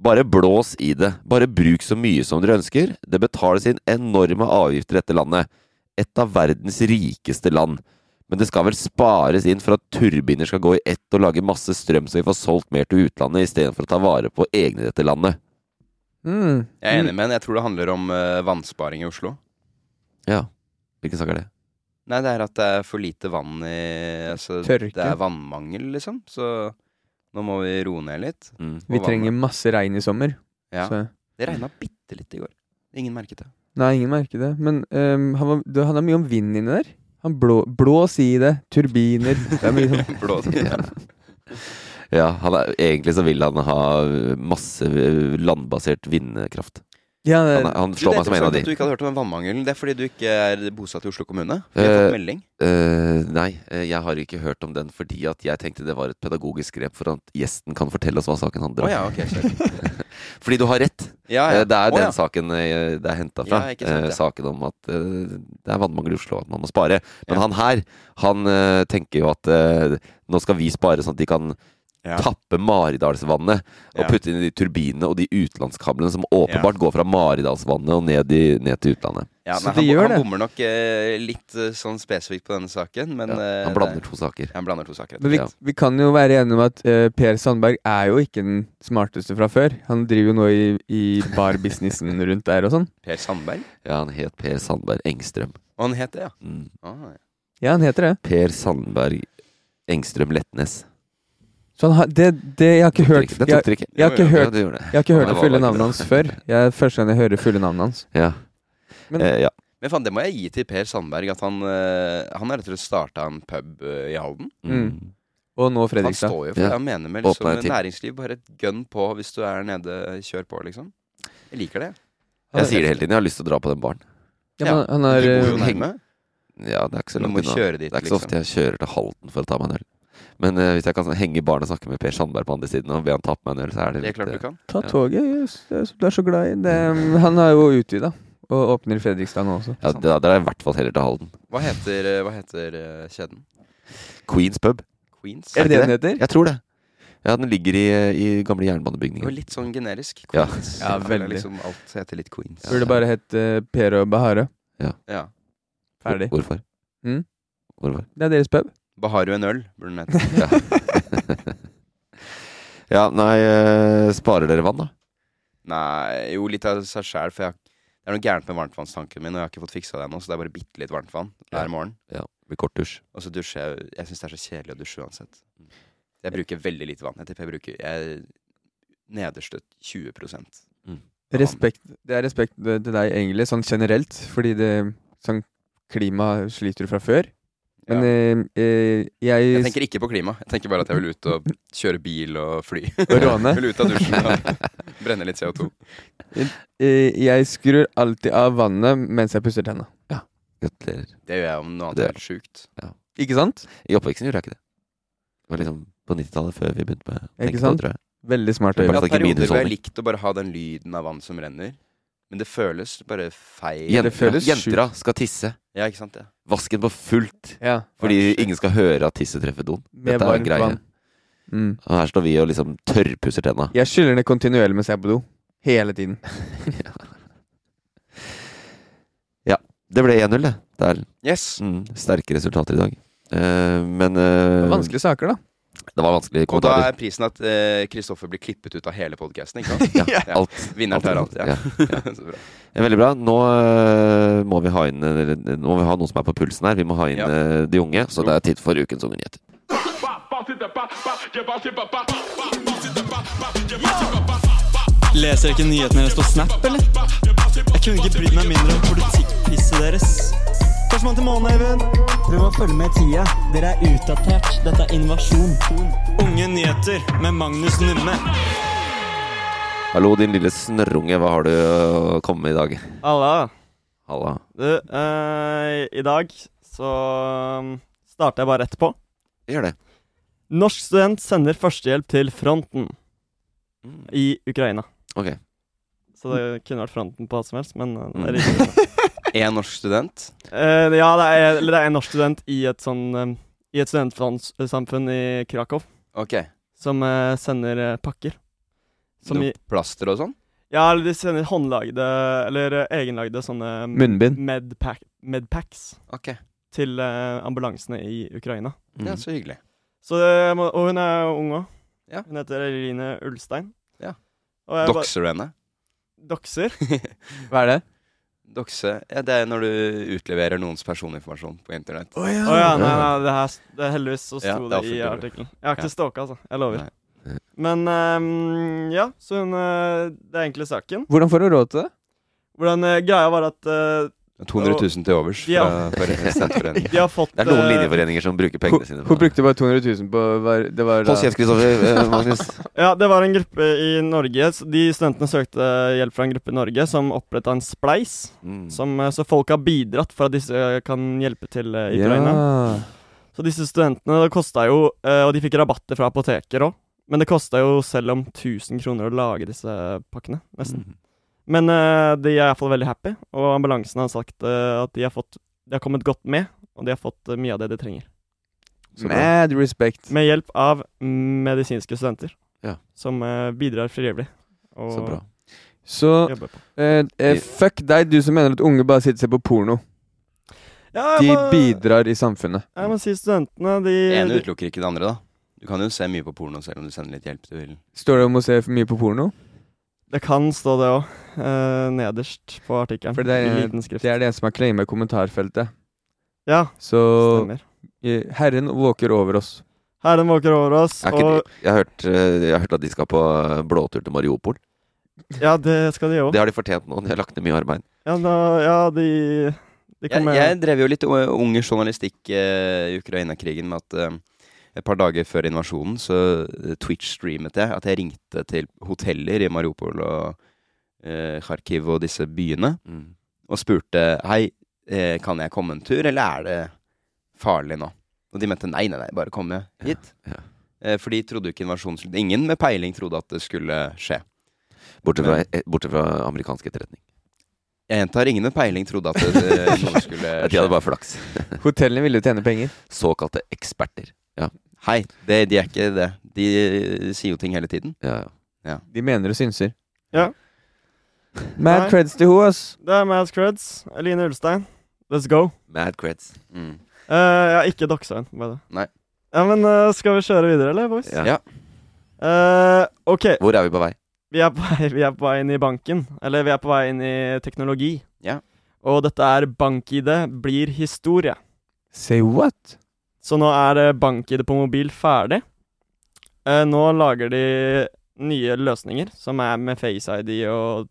Bare blås i det. Bare bruk så mye som dere ønsker. Det betales inn enorme avgifter i dette landet. Et av verdens rikeste land. Men det skal vel spares inn for at turbiner skal gå i ett og lage masse strøm så vi får solgt mer til utlandet istedenfor å ta vare på egne i dette landet. Mm. Jeg er enig med henne. Jeg tror det handler om eh, vannsparing i Oslo. Ja. Hvilken sak er det? Nei, det er at det er for lite vann i altså, Tørke. Det er vannmangel, liksom. Så nå må vi roe ned litt. Mm. Vi Og trenger vannet. masse regn i sommer. Ja. Så. Det regna bitte litt i går. Ingen merket det. Nei, ingen merker det. Men ehm, han, var, det handler mye om vind inni der. Han blå, blås i det. Turbiner. Det er mye sånn Blås. Ja. Ja, han er, egentlig så vil han ha eh, masse eh, landbasert vindkraft. Ja, det, Han, er- han slår meg som en av de. Du Eh, ikke hadde hørt om den vannmangelen. Det er fordi du ikke er bosatt i Oslo kommune. Vi har Eh, fått melding. Eh, nei, eh, jeg har ikke hørt om den fordi at jeg tenkte det var et pedagogisk grep for at gjesten kan fortelle oss hva saken handler Å om. ja, ok. sorry. Fordi du har rett! Ah, Ja, Eh, ja. Det er Å, den ja. saken eh, det er henta fra. Ja, ikke sant, Eh, ja. Saken om at eh, det er vannmangel i Oslo, at man må spare. Men Ja. han her, han eh, tenker jo at eh, nå skal vi spare sånn at de kan Ja. tappe Maridalsvannet og Ja. putte inn i de turbinene og de utenlandskablene som åpenbart går fra Maridalsvannet og ned, i, ned til utlandet. Ja, Så nei, de han, gjør han det. bommer nok eh, litt eh, sånn spesifikt på denne saken, men Ja, eh, han blander to saker. det- Han blander to saker. men vi, Ja. vi kan jo være enige om at eh, Per Sandberg er jo ikke den smarteste fra før. Han driver jo nå i, i barbusinessen rundt der og sånn. Per Sandberg? Ja, han het Per Sandberg Engstrøm. Og han het det, ja. Mm. Ah, ja. Ja, han heter det. Per Sandberg Engstrøm Letnes. Så han har, det, det, jeg har ikke hørt Det jeg, tok dere ikke. jeg har ikke hørt- det gjorde det. jeg har ikke Ja, det hørt det var fulle bare navnet bra. hans før. Jeg, første gang jeg hører fulle navnet hans. Ja. Men- eh, ja. Men faen, det må jeg gi til Per Sandberg, at han, eh, han har rett og slett starta en pub eh, i Halden. Mm. Og nå Han Fredrikstad. står jo for Ja. det. Han mener med Åpna liksom, en til. næringsliv. Bare et gønn på hvis du er nede, kjør på, liksom. Jeg liker det. Jeg sier det hele tiden. Jeg har lyst til å dra på den baren. Ja, men han Du er bor jo eh, nærme. Ja, det er ikke så Du langt må unna. kjøre dit, Det er ikke så liksom. ofte jeg kjører til Halden for å ta meg en øl. Men eh, hvis jeg kan sånn henge i baren og snakke med Per Sandberg på andre siden og be han ta på meg en øl, så er det Det er litt klart du eh, kan. Ta toget, yes, jeg er så- du er så glad i det. eh, Han har jo utvida, og åpner i Fredrikstad nå også. Ja, det det er i hvert fall heller til Halden. Hva heter, eh, hva heter eh, kjeden? Queens pub. Queens? Er det det ikke den heter? Jeg tror det. Ja, den ligger i, i gamle Det var jernbanebygningen. litt sånn generisk. Ja. Queens. Ja, Jeg føler veldig. Liksom alt heter litt Queens. Burde bare hett eh, Per og Bahare. Ja. Ferdig. Hvorfor? Mm. Hvorfor? Det er deres pub. Baharu en øl, burde den hete. Ja, nei, eh, sparer dere vann, da? Nei, jo, litt av seg sjæl, for jeg, har- det er noe gærent med varmtvannstanken min, og jeg har ikke fått fiksa det ennå, så det er bare bitte litt varmt vann Ja. hver morgen. Ja, blir kort dusj. Og så dusjer jeg Jeg syns det er så kjedelig å dusje uansett. Mm. Jeg bruker veldig lite vann. Jeg tipper jeg bruker jeg, nederst et 20 Mm. Respekt. Det er respekt eh, til deg, egentlig, sånn generelt, fordi det sånn klima sliter du fra før. Men ja. eh, eh, jeg, Jeg tenker ikke på klima. Jeg tenker bare at jeg vil ut og kjøre bil og fly. Og råne. vil ut av dusjen og brenne litt CO2. eh, jeg skrur alltid av vannet mens jeg pusser tenna. Gratulerer. Det gjør jeg om noe annet Det- er helt sjukt. Ikke sant? I oppveksten gjorde jeg ikke det. Det var liksom på 90-tallet, før vi begynte med å tenke på sant? det, tror jeg. Veldig smart. å Det er Jeg gjøre. bare- har ikke min perioder hvor jeg husholdning. likte å bare ha den lyden av vann som renner. Men det føles bare feil. Ja, det Jenter, føles sjukt. jenter da, skal tisse. Ja, ikke sant? Ja. Vasken på fullt. Ja, Fordi ingen skal høre at tisset treffer doen. med Dette er en varmt greie. vann. Mm. Og her står vi og liksom tørrpusser tenna. Jeg skyller ned kontinuerlig mens jeg er på do. Hele tiden. Det ble 1-0, det. Det er Yes. mm, sterke resultater i dag. Eh, men eh, Vanskelige saker, da. det var vanskelige Og da kommentarer. er prisen at eh, Kristoffer blir klippet ut av hele podkasten, ikke sant? Ja, alt. Vinneren tar alt. Ja. Ja. Så bra. Ja, Veldig bra. Nå eh, må vi ha inn eh, Nå må vi ha noen som er på pulsen her. Vi må ha inn Ja. eh, de unge, så det er tid for ukens Unge nyheter. Leser dere ikke nyhetene deres på Snap, eller? Jeg kunne ikke brydd meg mindre om politikkpisset deres. Førstemann til månen, Eivind. Prøv å følge med i tida. Dere er utdatert. Dette er invasjon. Unge nyheter med Magnus Numme. Hallo, din lille snørrunge. Hva har du å komme med i dag? Halla. Halla. Du, eh, i dag så um, starter jeg bare rett på. Gjør det. Norsk student sender førstehjelp til fronten Mm. i Ukraina. Ok. Så det kunne vært fronten på hva som helst, men eh, det er Mm. ikke En norsk student. Eh, ja, det er, eller det er en norsk student i et sånn eh, I et studentsamfunn i Krakow Ok. som eh, sender eh, pakker. Som i Noe plaster og sånn? Ja, eller de sender håndlagde eller eh, egenlagde sånne Munnbind. medpack, medpacks Ok. til eh, ambulansene i Ukraina. Mm. Ja, så hyggelig. Så det, må- og hun er ung òg. Ja. Hun heter Eline Ulstein. Ja. Og jeg bare- Dokser du henne? Dokser? Hva er det? Dokse ja, Det er når du utleverer noens personinformasjon på internett. Å ja, nei, nei, det her det er heldigvis så sto Ja, det, det er i offentlig. artikkelen. Jeg har ikke Ja. stalka, altså. Jeg lover. Nei. Men ehm, ja, så hun eh, Det er egentlig saken. Hvordan får du råd til det? Hvordan eh, greia var at eh, 200 000 til overs fra Ja. for- studentforeningen. de har fått Det er noen eh, linjeforeninger som bruker Hun pengene sine. hun brukte bare 200 000 på var, Det var Hold kjeft, Kristoffer. eh, Magnus. Ja, det var en gruppe i Norge. så De studentene søkte hjelp fra en gruppe i Norge som oppretta en spleis. Mm. Som, eh, så folk har bidratt for at disse eh, kan hjelpe til eh, i Ukraina. Ja. Så disse studentene, det kosta jo eh, Og de fikk rabatter fra apoteker òg. Men det kosta jo selv om 1000 kroner å lage disse pakkene, nesten. Mm. Men eh, de er iallfall veldig happy, og ambulansen har sagt eh, at de har, fått, de har kommet godt med, og de har fått eh, mye av det de trenger. Så bra. Mad respect. Med hjelp av medisinske studenter, Ja. som eh, bidrar frivillig. Og Så bra. Så jobber på. eh, eh, fuck deg, du som mener at unge bare sitter og ser på porno. Ja, jeg De må- bidrar i samfunnet. Jeg må si studentene, de, Det ene de utelukker ikke det andre, da. Du kan jo se mye på porno selv om du sender litt hjelp til Står det om å se for mye på porno? Det kan stå det òg, nederst på artikkelen. For det er- I liten skrift. Det er det som er claima i kommentarfeltet. ja, Så stemmer. eh, Herren våker over oss. Herren våker over oss. Er ikke, Og de- jeg, har hørt, eh, jeg har hørt at de skal på eh, blåtur til Mariupol. ja, det skal de òg. Det har de fortjent nå. De har lagt ned mye arbeid. Ja, da, ja, de, de Jeg, kommer jeg drev jo litt u- ung journalistikk eh, i Ukraina-krigen med at eh, et par dager før invasjonen så eh, Twitch-streamet jeg at jeg ringte til hoteller i Mariupol og eh, Kharkiv og disse byene Mm. og spurte Hei, eh, kan jeg komme en tur, eller er det farlig nå? Og de mente nei, nei, nei, bare kom hit. Ja. Eh, For de trodde jo ikke invasjonen skulle Ingen med peiling trodde at det skulle skje. Bortsett fra, Men- eh, bortsett fra amerikansk etterretning. Jeg gjentar, ingen med peiling trodde at det, det, noe skulle Ja, De skje. hadde bare flaks. Hotellene ville jo tjene penger. Såkalte eksperter. Hei, det, de er ikke det. De sier jo ting hele tiden. Ja, ja. De mener og synser. Ja. Mad Nei. creds til henne, ass. Det er Mads Creds. Eline Ulstein. Let's go. Mad creds. Mm. Eh, jeg er ikke Dagsveien, by the Nei. Ja, men eh, skal vi kjøre videre, eller, boys? Ja. Ja. Eh, OK, Hvor er vi på vei? vi er, på vei, vi er på vei inn i banken. Eller vi er på vei inn i teknologi. Ja. Og dette er BankID blir historie. Say what? Så nå er eh, BankID på mobil ferdig. Eh, nå lager de nye løsninger, som er med FaceID og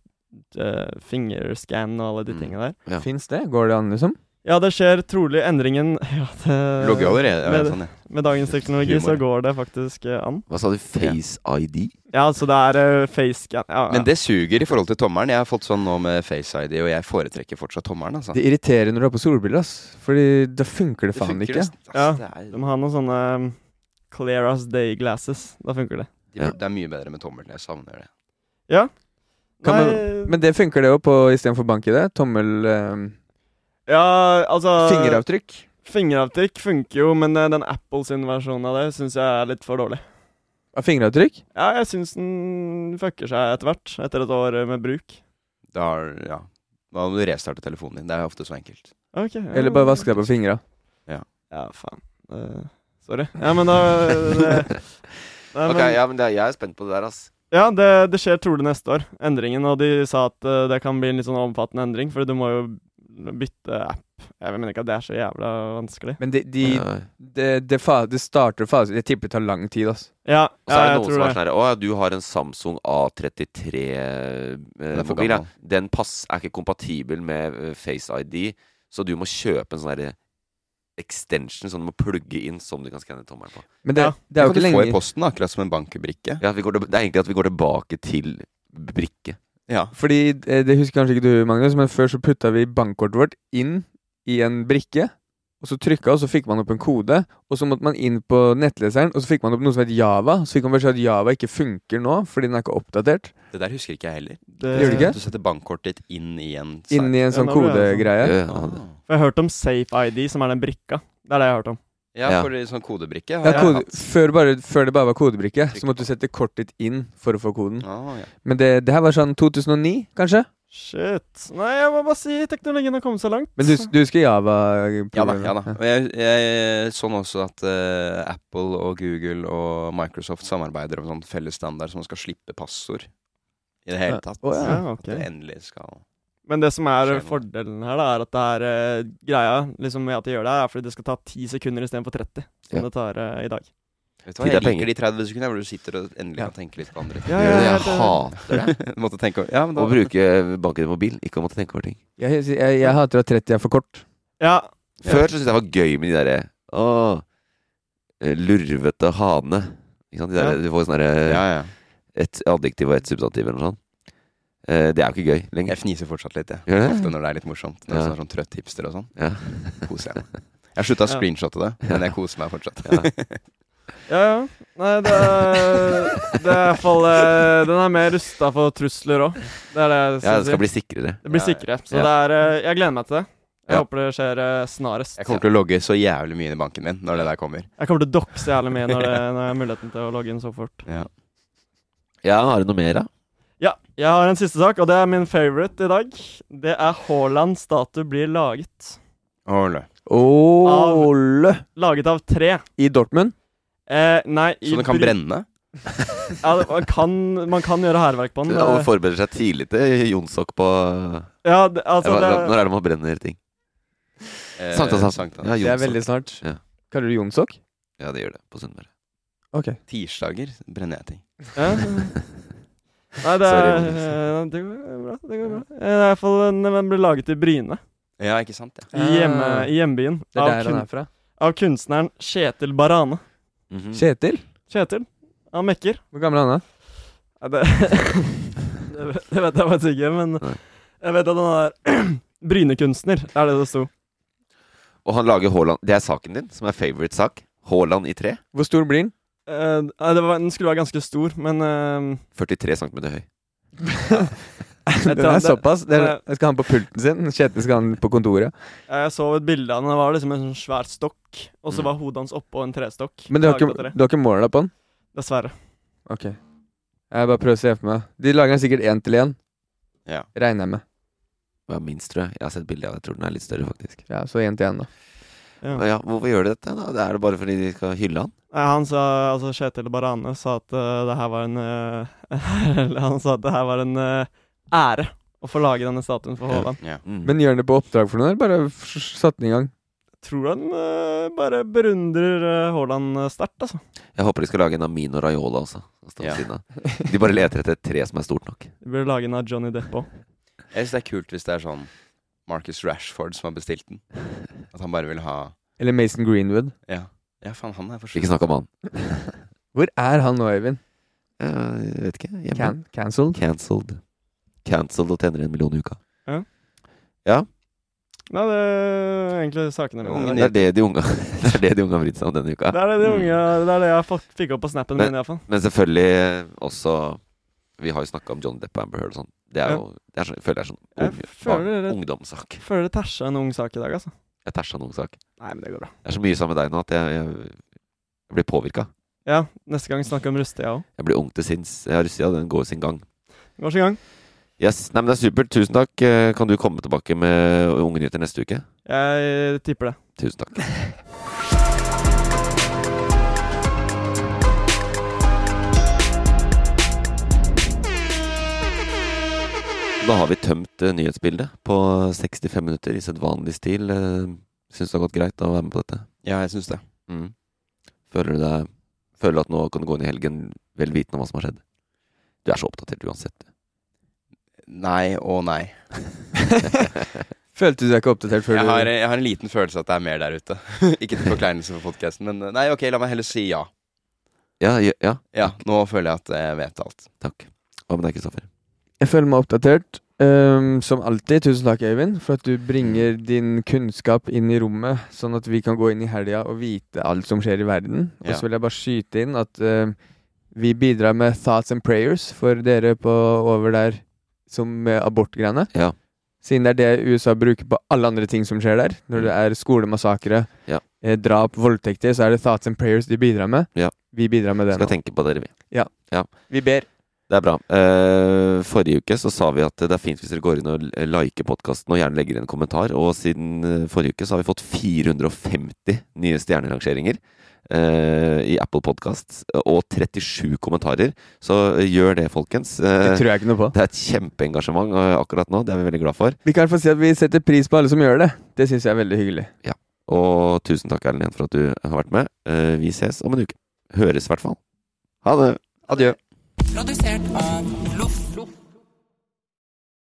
eh, fingerscan og alle de Mm. tingene der. Ja. Fins det? Går det an, liksom? Ja, det skjer trolig endringen ja, det, Eh, Logger allerede. med, Ja, sånn, ja. med dagens teknologi så Humor. går det faktisk eh, an. Hva sa du? Face ID? Ja, så det er eh, facescan ja, ja. Men det suger i forhold til tommelen. Jeg har fått sånn nå med FaceID, og jeg foretrekker fortsatt tommelen. Altså. Det irriterer når du har på solbriller, ass. Fordi da funker det faen funker ikke. nesten- altså, Ja. det, er, De har noen sånne um, clear as day glasses. Da funker det. de burde- det er mye bedre med tommelen. Jeg savner det. Kan Nei, Men det funker det jo på istedenfor bank-ID. Tommel eh, ja, altså Fingeravtrykk. Fingeravtrykk funker jo, men eh, den Apple sin versjon av det syns jeg er litt for dårlig. Av fingeravtrykk? Ja, jeg syns den fucker seg etter hvert, etter et år eh, med bruk. Da er, ja. Hva om du restarter telefonen din? Det er ofte så enkelt. Ok, ja. Eller bare vaske deg på fingra? Ja, faen. Eh, sorry. Ja, men da eh, det, eh, Nei, men- Ok, ja, men det, jeg er spent på det der, ass. Ja, det, det skjer trolig neste år, endringen. Og de sa at eh, det kan bli en litt sånn omfattende endring, for du må jo bytte app. Jeg mener ikke at det er så jævla vanskelig. Men det, de, Ja. det, det, fa det starter fasen Jeg tipper det tar lang tid, ass. Ja, Og så er ja det jeg noen som tror er det. sånn her Å ja, du har en Samsung A33 eh, er for mobil. Ja. gammel. Den pass er ikke kompatibel med eh, Face ID, så du må kjøpe en sånn herre extension som du må plugge inn som du kan skanne tommelen på. Men det, Ja. det er jo ikke kan du få i lenge posten, akkurat som en bankebrikke. Ja, vi går til, det er egentlig at vi går tilbake til brikke. Ja. Fordi eh, det husker kanskje ikke du, Magnus, men før så putta vi bankkortet vårt inn i en brikke. Og så trykka, og så fikk man opp en kode. Og så måtte man inn på nettleseren, og så fikk man opp noe som het Java. Så fikk man beskjed at Java ikke funker nå, fordi den er ikke oppdatert. Det der husker ikke jeg heller. det Gjør du ikke? Du setter bankkortet ditt inn i en Inn i en Ja, sånn nå ble jeg Ja, kodegreie. ja, det- Ah. For jeg har hørt om SafeID, som er den brikka. Det er det jeg har hørt om. Ja, Ja. for det er sånn kodebrikke har Ja, jeg kode, hatt. før, bare, før det bare var kodebrikke, Trykk så måtte du sette kortet ditt inn for å få koden. Ah, ja. Men det, det her var sånn 2009, kanskje? Shit. Nei, jeg må bare si teknologien har kommet så langt. Men du, du husker Java? eh, Ja da. programmet? ja da Og jeg, jeg sånn også at eh, Apple og Google og Microsoft samarbeider om sånn felles standard som skal slippe passord i det hele Ja. tatt. Å, ja, ok. At det endelig skal Men det som er Skjer noe. fordelen her, da, er at det er eh, greia liksom med at de gjør det, er fordi det skal ta 10 sekunder istedenfor 30, som Ja. det tar eh, i dag. Vet du hva, Tid er Jeg penger. liker de 30 sekundene hvor du sitter og endelig Ja. kan tenke litt på andre ting. Ja, Gjør det, ja, jeg det- hater det. Du Måtte tenke over Ja, men da Å bruke banken i mobil, ikke å måtte tenke over ting. Jeg, jeg, jeg hater at 30 er for kort. Ja, Før så syntes jeg det var gøy med de derre Å, eh, lurvete hane. Ikke sant? De der, Ja. Du får sånn derre Ja, ja. ett adjektiv og ett substantiv eller noe sånt. Eh, det er jo ikke gøy lenger. Jeg fniser fortsatt litt, jeg. Gjør det? Ofte når det er litt morsomt. Når Ja. det er sånn trøtt hipster og sånn. Ja. Koser jeg meg. Jeg slutta å Ja. screenshotte det, men jeg koser meg fortsatt. ja. ja. Nei, det er, det er i hvert fall eh, Den er mer rusta for trusler òg. Det er det jeg ja, det skal skal si. bli sikrere. Det blir Ja, sikrere. Så ja. det er eh, Jeg gleder meg til det. Jeg Ja. håper det skjer eh, snarest. Jeg kommer til å logge så jævlig mye inn i banken min når det der kommer. Jeg kommer til å dokse jævlig mye når, det, når jeg har muligheten til å logge inn så fort. Ja. Ja, har du noe mer, da? Ja, jeg har en siste sak, og det er min favorite i dag. Det er Haalands statue blir laget. Ole. Åle! Laget av tre. I Dortmund? Eh, nei i Så den kan bry- brenne? Ja, det- man, kan, man kan gjøre hærverk på den. Alle eh, forbereder seg tidlig til Jonsok på Ja, det, altså Eller, Når det, er det man brenner ting? Eh, Sankthans aften. sankthans. Ja, Det er Jonsok. veldig snart. Ja. Kaller du Jonsok? Ja, det gjør det. På Sunnmøre. Ok. Tirsdager brenner jeg ting. Ja. Nei, det Sorry, er Magnus. eh, Det går bra. Det går bra. Eh, Det er i hvert fall en Den ble laget i Bryne. Ja, ikke sant? Ja. I, hjemme, I hjembyen. Eh, Ah. Det er av der han kun- er fra. Av kunstneren Kjetil Barane. Mhm. Kjetil? Kjetil. Han mekker. Hvor gammel er han da? Nei, det, det vet- det vet jeg faktisk ikke, men Nei. jeg vet at han er Brynekunstner, er det det sto. Og han lager Haaland Det er saken din, som er favorite sak. Haaland i tre. Hvor stor blir han? Eh, nei, det var, den skulle være ganske stor, men eh, 43 cm høy. jeg Den tror- er såpass. Den Nei. den skal han på pulten sin. Kjetil skal han på kontoret. Jeg så et bilde av den. Det var liksom en sånn svær stokk, og så Mm. var hodet hans oppå en trestokk. Men du har Laget av ikke, tre. du har ikke måla på den? Dessverre. Ok. Jeg bare prøver å se for meg. De lager den sikkert én til én, Ja. regner jeg med. Hva er minst, tror jeg. Jeg har sett bilde av det. Jeg tror den er litt større, faktisk. Ja, så én til én, da. Ja. Ja, hvorfor gjør de dette? da? Det Er det bare fordi de skal hylle han? Nei, Han sa, altså Kjetil Barane sa at eh, det her var en eh, eller Han sa at det her var en eh, ære å få lage denne statuen for Haaland. Ja. Mm. Men gjør han det på oppdrag for noen, eller bare f- satt den i gang? Tror han eh, bare beundrer eh, Haaland eh, sterkt, altså. Jeg håper de skal lage en Amino Raiola også. som står ved Ja. siden av. De bare leter etter et tre som er stort nok. Det burde lage en av Johnny Depp òg. Jeg syns det er kult hvis det er sånn Marcus Rashford som har bestilt den. At han bare vil ha Eller Mason Greenwood? Ja, ja faen, han er for Ikke snakk om han. Hvor er han nå, Øyvind? Eh, Jeg vet ikke. Hjemme. Can cancelled? Cancelled. Cancelled og tjener en million i uka. Nei, det er egentlig sakene mine. Det er det de unga Det er det de unga har vridd seg om denne uka. Det er det, de unge, det, er det jeg har fått, fikk opp på snappen Men- min, iallfall. Men selvfølgelig eh, også Vi har jo snakka om John Depp og Amber Heard og sånn. Det er Ja. jo det er, sånn- jeg føler det er sånn Jeg unge, føler barn- det- ungdomssak. Føler det tæsja en ung sak i dag, altså. Jeg tæsja en ungsak. Nei, men det går bra. Jeg er så mye sammen med deg nå at jeg, jeg, jeg blir påvirka. Ja, neste gang snakker vi om Rustia òg. Jeg blir ung til sinns. Ja, Russia, den går sin gang. Går så i gang. Yes, Nei, men Det er supert. Tusen takk. Eh, Kan du komme tilbake med Unge nyheter neste uke? Jeg tipper det. Tusen takk. Da har vi tømt eh, nyhetsbildet på 65 minutter i sedvanlig stil. Eh, Syns det har gått greit å være med på dette? Ja, jeg syns det. Mm. Føler du deg Føler du at nå kan du gå inn i helgen vel vitende om hva som har skjedd? Du er så oppdatert uansett. Nei og nei. Følte du deg ikke oppdatert før Jeg du har, jeg har en liten følelse at det er mer der ute. Ikke til forkleinelse for podkasten, men eh, nei, ok, la meg heller si ja. Ja, ja, ja Ja, nå føler jeg at jeg vet alt. takk. Hva med deg, Kristoffer? Jeg føler meg oppdatert. Ehm, som alltid, tusen takk, Øyvind, for at du bringer Mm. din kunnskap inn i rommet, sånn at vi kan gå inn i helga og vite alt som skjer i verden. Og Ja. så vil jeg bare skyte inn at ehm, vi bidrar med thoughts and prayers for dere på over der som med abortgreiene. Ja. Siden det er det USA bruker på alle andre ting som skjer der. Når det er skolemassakre, Mm. Ja. eh, drap, voldtekter, så er det thoughts and prayers de bidrar med. Ja. Vi bidrar med det Skal nå. tenke på dere, vi. Vi ber. Det er bra. Eh, forrige uke så sa vi at det er fint hvis dere går inn og l- liker podkasten og gjerne legger inn en kommentar. Og siden eh, forrige uke så har vi fått 450 nye stjernerangeringer eh, i Apple Podkast. Og 37 kommentarer. Så eh, gjør det, folkens. Det Eh, tror jeg ikke noe på. det er et kjempeengasjement eh, akkurat nå. Det er vi veldig glad for. Vi kan få si at vi setter pris på alle som gjør det. Det syns jeg er veldig hyggelig. Og tusen takk, Erlend, igjen for at du har vært med. Eh, vi ses om en uke. Høres i hvert fall. Ha det. Adjø. Produsert av Loff.